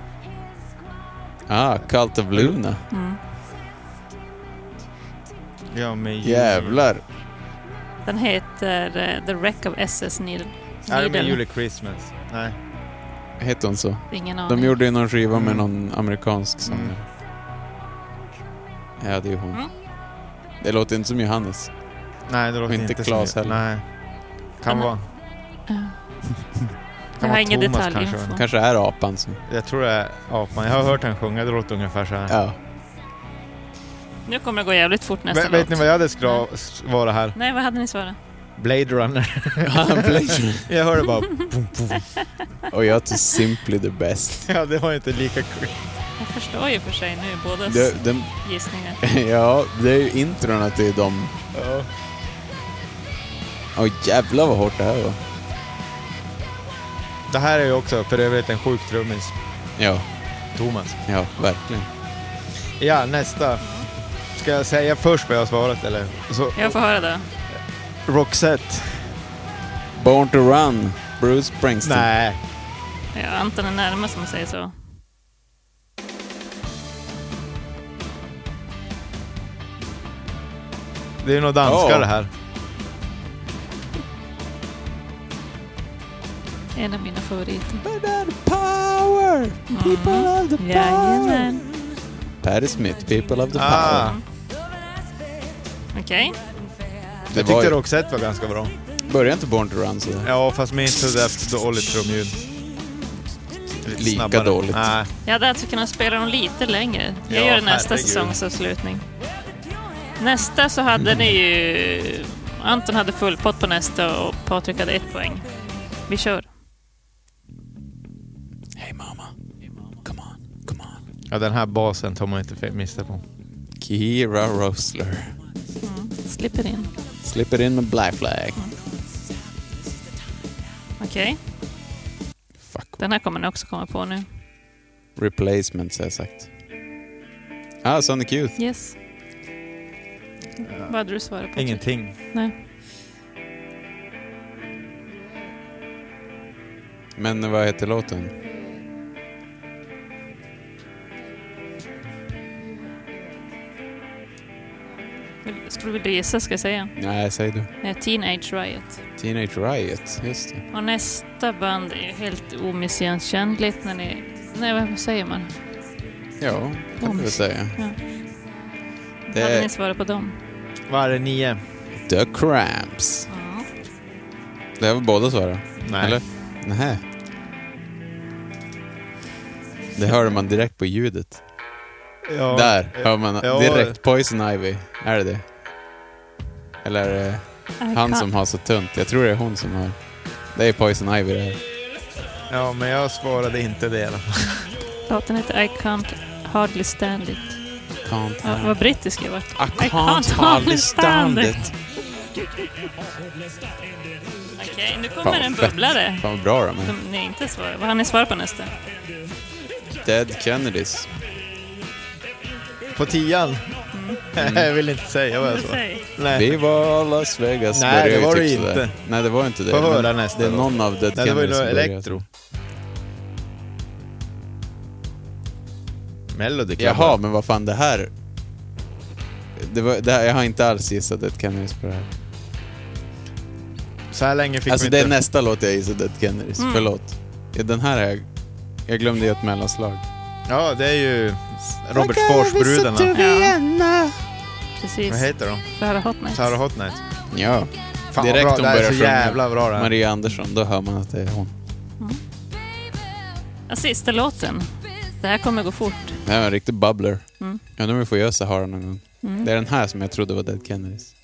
Ah, Cult of Luna.
Mm.
Ja, men...
Jävlar.
Den heter eh, The Wreck of SS Needle.
Är det med
Needle.
Julie Christmas? Nej.
Hette hon så?
Ingen aning.
De gjorde ju någon skiva med
Mm.
någon amerikansk sångare.
Mm.
Ja, det är ju hon.
Mm.
Det låter inte som Johannes.
Nej, det låter
Inte
inte,
Claes
som-
heller.
Nej. Kan
Men-
vara...
Jag har
vara
ingen
Thomas
detaljinfo.
kanske.
Kanske är apan som...
Jag tror det är apan. Jag har hört han sjunga, det låter ungefär så här.
Ja.
Nu kommer det gå jävligt fort nästa
Vet-
låt.
vet ni vad jag hade skra- svara här?
Nej, vad hade ni svarat?
Blade Runner.
Blade.
jag hörde bara...
Och jag till Simply the Best.
ja, det var inte lika kul.
Jag förstår ju för sig nu bådas
Det, den,
gissningar.
ja, det är ju introna till dem.
Ja.
Åh jävlar vad hårt det här var.
Det här är ju också för övrigt en sjuk trummis.
Ja,
Thomas.
ja, verkligen.
Ja, nästa. Ska jag säga först vad jag har svarat eller? Så,
Jag får höra då.
Roxette.
Born to Run, Bruce Springsteen.
Nej.
Ja, Anton är närmast om man säger så.
Det är nog danskar
Ja.
det här.
En av mina favoriter.
Power! People of the power!
Jajamän.
Patti Smith, People of the
Ah.
power.
Okej.
Det
Jag
var
tyckte
ju,
Roxette var ganska bra.
började inte Born to Run så
Ja, fast med inte så där dåligt trumljud. Lite
Lika dåligt.
Nej,
Jag hade alltså kunnat spela dem lite längre. Jag
Ja,
gör det nästa
herregud.
säsongsavslutning. Nästa så hade ni ju... Anton hade full pott på nästa och Patrik hade ett poäng. Vi kör.
Hey mama, come on, come on.
ja, den här basen tar man inte fe- miste på.
Kira Rosler.
Slipper in.
Slipper in med Black Flag.
Okej,
Fuck.
den här kommer ni också komma på nu.
Replacements har jag sagt. Ah, Sonic Youth.
Yes. Vad hade du svarat på?
Ingenting.
Nej.
Men vad heter låten?
Vill- Skulle du vilja gissa ska jag säga?
Nej, säg du.
Eh, Teenage Riot.
Teenage Riot, just det.
Och nästa band är ju helt omissigenkännligt när ni... Nej, vad säger man?
Ja, kan man väl säga. Det-
Hade ni svarat på dem?
Vad är det, nio?
The Cramps. Det här var båda svara.
Nej.
Eller? Nej. Det hörde man direkt på ljudet.
Ja. eh,
Där hör man
Ja.
direkt Poison Ivy. Är det det? Eller eh, är det han som har så tunt? Jag tror det är hon som har. Det är Poison Ivy det här.
Ja, men jag svarade inte det. i alla fall.
Låten heter I Can't Hardly Stand It.
Can't
Ja, vad brittisk jag varit.
I can't hardly stand it.
Okej, nu kommer
Fan,
en
fett.
bubblare.
Fan vad bra de är.
Som ni inte svarar. Vad har ni svar på nästa?
Dead Kennedys.
På tian? Nej, jag vill inte säga vad jag sa.
Säg.
Nej.
Mm. Vi var Las Vegas.
Nej,
började
det
ju
var
typ
det
sådär.
inte.
Nej, det var inte det.
Får
Men
höra nästa
Det är
låt.
någon av Dead
Nej, det var ju
Kennedys som
något
började.
elektro. Melody Club.
Jaha, men vad fan det här... Det var, det här jag har inte alls gissat Dead Kennedys på det här.
Så här länge fick
alltså
vi
det är
inte...
nästa låt jag gissar Dead Kennedys. Förlåt. Ja, Den här är jag... Jag glömde ju ett mellanslag.
Ja, det är ju Robert Forsbrudarna.
Ja, precis.
Vad heter de?
Sahara Hot Nights.
Sarah Hot Nights.
Ja.
Fan
Direkt
vad
hon
bra, det här är
börjar
så
sjunga.
jävla bra det här.
Maria Andersson, då hör man att det är hon.
Ja, Sista låten. Det här kommer gå fort.
Det här är en riktig bubbler.
Mm.
Undrar om vi får göra Sahara någon gång. Det är den här som jag trodde var Dead Kennedys.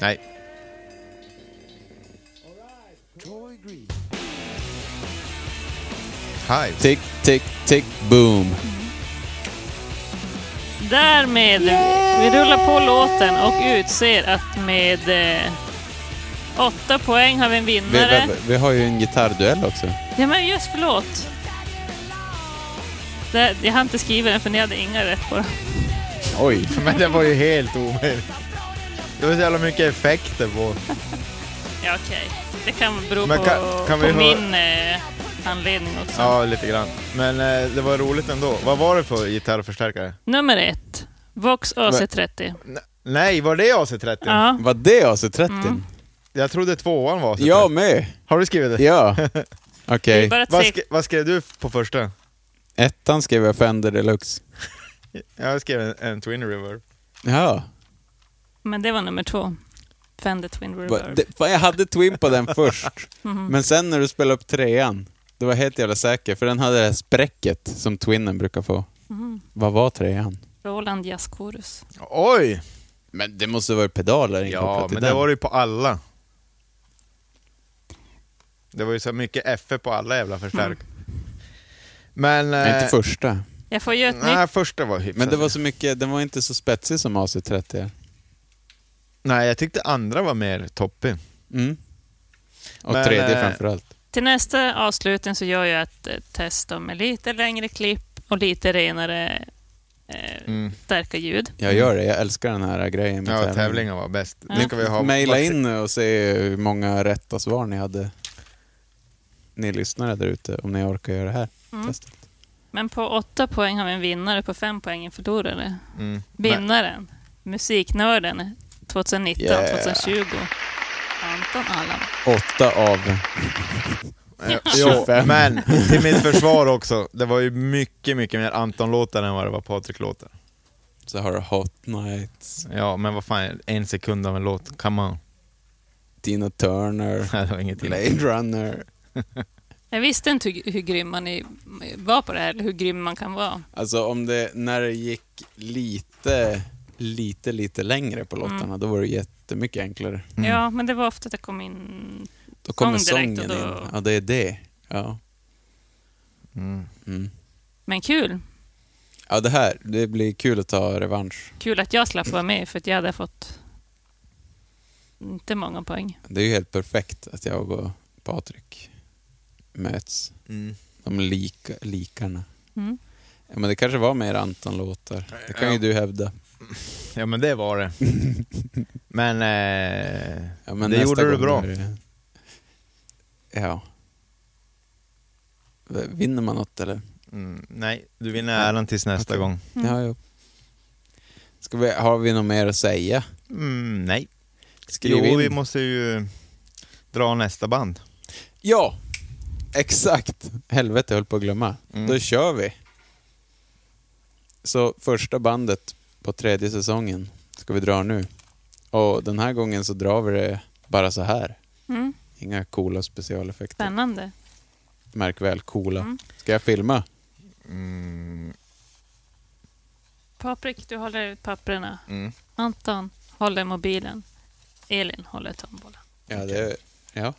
Nej. Hive.
Tick, tick, tick, boom.
Därmed, vi rullar på låten och utser att med eh, åtta poäng har vi en
Vi,
vinnare.
vi, vi har ju en gitarrduell också.
Ja men just förlåt. Det, jag hann inte skriva den för ni hade inga rätt på den.
Oj.
Men det var ju helt omöjligt. Det var så jävla mycket effekter på.
Ja okej. Det kan bero
Men
på,
kan- kan
på
vi hö-
min eh, anledning också.
Ja, lite grann. Men eh, det var roligt ändå. Vad var det för gitarrförstärkare?
Nummer ett. Vox AC30.
Nej, var det AC30?
Ja.
Var det AC30?
Jag trodde tvåan var AC30.
Jag med.
Har du skrivit det?
Ja. Okej.
Bara
Vad,
tre...
sk- vad skrev du på första?
Ettan skrev jag Fender Deluxe.
Jag skrev en, en Twin River.
Ja.
Men det var nummer två. Fender Twin
Va-
Reverb.
det- Mhm. Fan, jag hade Twin på den först. Men sen när du spelade upp trean, då var jag helt jävla säker. För den hade det här spräcket som Twinen brukar få. Vad var trean?
Roland Jazzkorus.
Oj!
Men det måste vara pedaler
Ja,
inkopplat i
men
den.
det var det ju på alla. Det var ju så mycket F på alla jävla förstärk. Men...
Nej,
eh,
inte första.
Jag får göra ett
Nej,
nytt.
första var hyfsat.
Men det var så mycket, den var inte så spetsig som AC30.
Nej, jag tyckte andra var mer toppig.
Mm. Och
Men,
tredje
eh,
framförallt.
Till nästa avslutning så gör jag ett eh, test då med lite längre klipp och lite renare, eh,
Mm.
starka ljud.
Jag gör det, jag älskar den här grejen med
Ja, tävlingen var bäst.
Ja.
Nu ska vi ha...
Maila in och se hur många rätta svar ni hade. Ni lyssnare där ute, om ni orkar göra det här testet.
Men på åtta poäng har vi en vinnare, på fem poäng en förlorare.
Mm. Nej,
Vinnaren, musiknörden 2019,
Yeah.
2020. Anton Allan.
Åtta av...
eh, Jo,
25.
men till mitt försvar också. Det var ju mycket, mycket mer Anton-låtar än vad det var Patrik-låtar.
Så har du Hot Nights,
Ja, men vad fan, en sekund av en låt. Come on.
Tina Turner,
Nej, det var inget till.
Blade Runner.
Jag visste inte hur, hur grym man i- var på det här, eller hur grym man kan vara.
Alltså om det, när det gick lite, lite, lite längre på låtarna,
Mm.
då var det jättemycket enklare.
Mm.
Ja, men det var ofta att jag kom in...
Då kommer
Sång
sången
direkt och då-
in. Ja, det är det. Ja.
Mm.
Mm.
Men kul.
ja, det här, det blir kul att ta revansch.
Kul att jag slapp vara med, för att jag hade fått inte många poäng.
Det är ju helt perfekt att jag och Patrik möts.
Mm.
De lika, likarna.
Mm.
Ja, men det kanske var mer Anton-låtar. Det kan ju
Ja.
du hävda.
Ja, men det var det. Men, eh,
Ja, men
det
nästa
gjorde du
gång
bra.
är det- Ja. V- Vinner man något eller?
Mm, nej, du vinner äran tills nästa
Okej.
gång.
Mm.
Ja, jo. Ska vi, har vi något mer att säga?
Mm, nej.
Skriv
Jo,
in.
vi måste ju dra nästa band.
Ja! Exakt! Helvete, jag höll på att glömma.
Mm.
Då kör vi! Så första bandet på tredje säsongen ska vi dra nu. Och den här gången så drar vi det bara så här.
Mm.
Inga coola specialeffekter.
Spännande.
Märk väl, coola.
Mm.
Ska jag filma?
Mm,
Patrik, du håller i papperna.
Mm.
Anton håller mobilen. Elin håller tombolan.
Ja, det... Ja.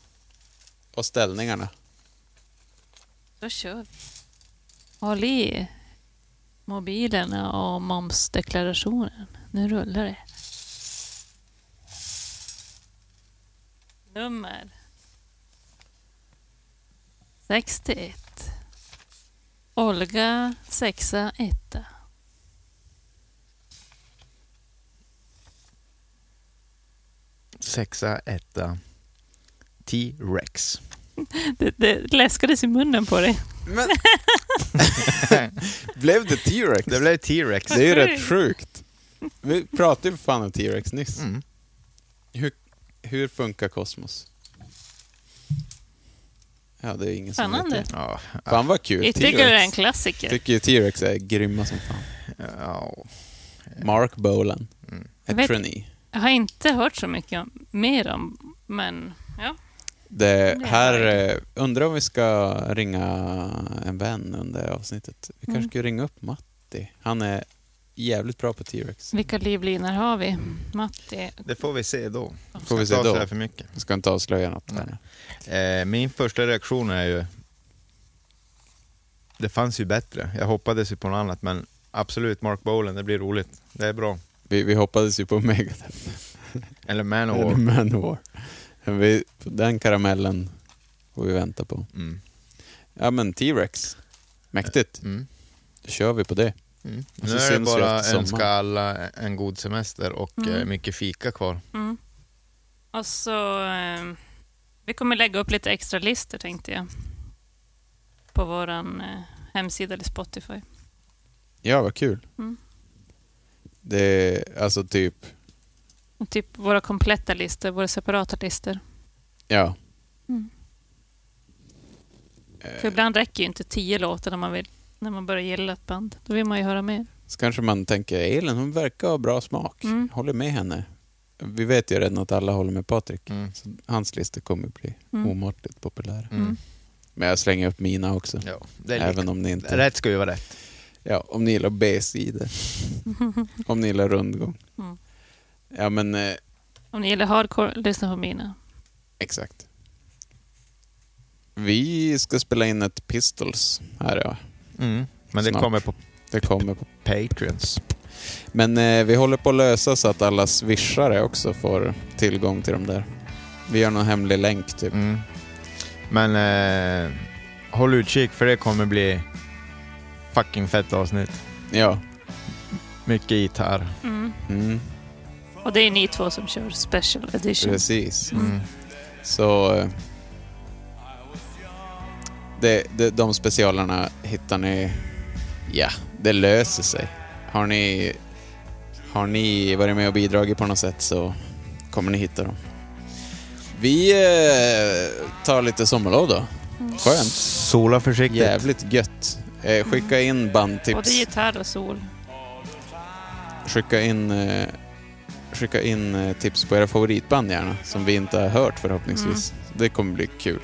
Och ställningarna.
Då kör vi. Håll i mobilerna och momsdeklarationen. Nu rullar det. Nummer 61. Olga sexa etta.
Sexa, etta. T-Rex.
Det, det läskades i munnen på dig.
Men... blev det T-Rex?
Det blev T-Rex.
Det är ju rätt sjukt. Vi pratade ju för fan om T-Rex nyss.
Mm.
Hur, hur funkar kosmos? Ja, det är ingen som
Spännande.
vet
Ja,
det. Fan vad kul.
Jag tycker det är en
T-Rex.
klassiker.
tycker ju T-Rex är grymma som fan.
ja. Mm.
Mark Bolan.
Jag
Ett
vet-
geni.
Jag har inte hört så mycket om, mer om, men ja.
Det
Det
här,
är
eh, undrar om vi ska ringa en vän under avsnittet. Vi kanske
Mm.
ska ringa upp Matti. Han är jävligt bra på T-Rex.
Vilka livlinor har vi? Matti.
Det får vi se då.
Får vi se
Jag tar
då.
så här för mycket.
Jag ska inte avslöja något. här nu.
Eh, min första reaktion är ju... Det fanns ju bättre. Jag hoppades ju på något annat, men absolut Mark Bolan, det blir roligt. Det är bra.
Vi, vi hoppades ju på Megadeth.
Eller Manowar.
Eller Manowar. Vi, den karamellen får vi vänta på.
Mm.
Ja men T-Rex. Mäktigt.
Mm.
Då kör vi på det.
Mm.
Och
Nu
så
är det
syns vi
bara
efter sommaren.
önska alla en god semester och
Mm.
eh, mycket fika kvar.
Mm. Och så... Eh, vi kommer lägga upp lite extra listor tänkte jag. På vår eh, hemsida eller Spotify.
Ja, vad kul.
Mm.
Det är alltså typ,
Och Typ våra kompletta listor, våra separata listor.
ja. Eh,
För ibland räcker ju inte tio låtar när man, vill, när man börjar gilla ett band. Då vill man ju höra mer.
Så kanske man tänker, Elin hon verkar ha bra smak.
Mm.
Håller med henne. Vi vet ju redan att alla håller med Patrik.
Mm.
Så hans listor kommer bli
Mm.
omåttligt populära.
Mm.
Men jag slänger upp mina också.
Ja, det är
Även
lika.
om ni inte...
Rätt ska ju vara rätt.
Ja, om ni gillar B-sidor. om ni gillar rundgång.
Mm.
Ja, men eh,
Om ni gillar hardcore, lyssna på mina.
exakt. Vi ska spela in ett Pistols här, ja.
Mm. Typ. Men det
Snart.
kommer på
Det kommer på.
Patreons.
Men eh, vi håller på att lösa så att alla swishare också får tillgång till dem där. Vi gör någon hemlig länk, typ.
Mm. Men eh, håll utkik för det kommer bli fucking fett avsnitt.
Ja.
Mycket gitarr.
Mm.
Mm,
Och det är ni två som kör special edition.
precis.
Mm.
Så... eh, Det, det, de specialerna hittar ni... Ja, det löser sig. Har ni, har ni varit med och bidragit på något sätt så kommer ni hitta dem. Vi eh, tar lite sommarlov då.
Mm.
Skönt.
Sola försiktigt.
Jävligt gött. Eh, skicka in
Både
bandtips.
gitarr och sol.
Skicka in, eh, skicka in eh, tips på era favoritband gärna, som vi inte har hört förhoppningsvis. Det kommer bli kul.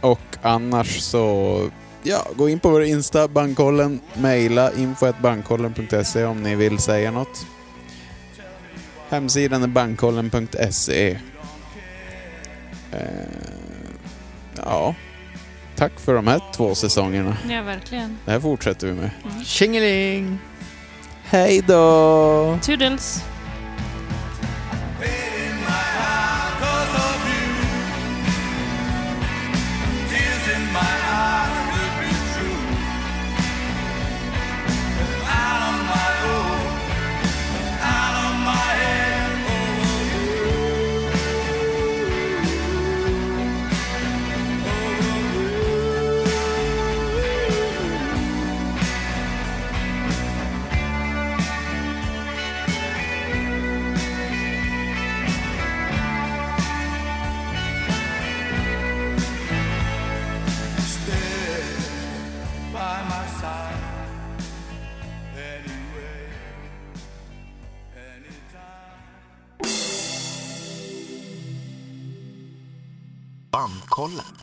Och annars så, ja, gå in på vår Insta, Bandkollen, mejla info.bandkollen.se om ni vill säga något. Hemsidan är bandkollen.se. Eh, ja, tack för de här två säsongerna.
Ja, verkligen.
Det här fortsätter vi med.
Tjingeling!
Hej då!
Toodles!
by my side anyway, anytime.
Bandkollen.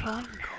Bandkollen.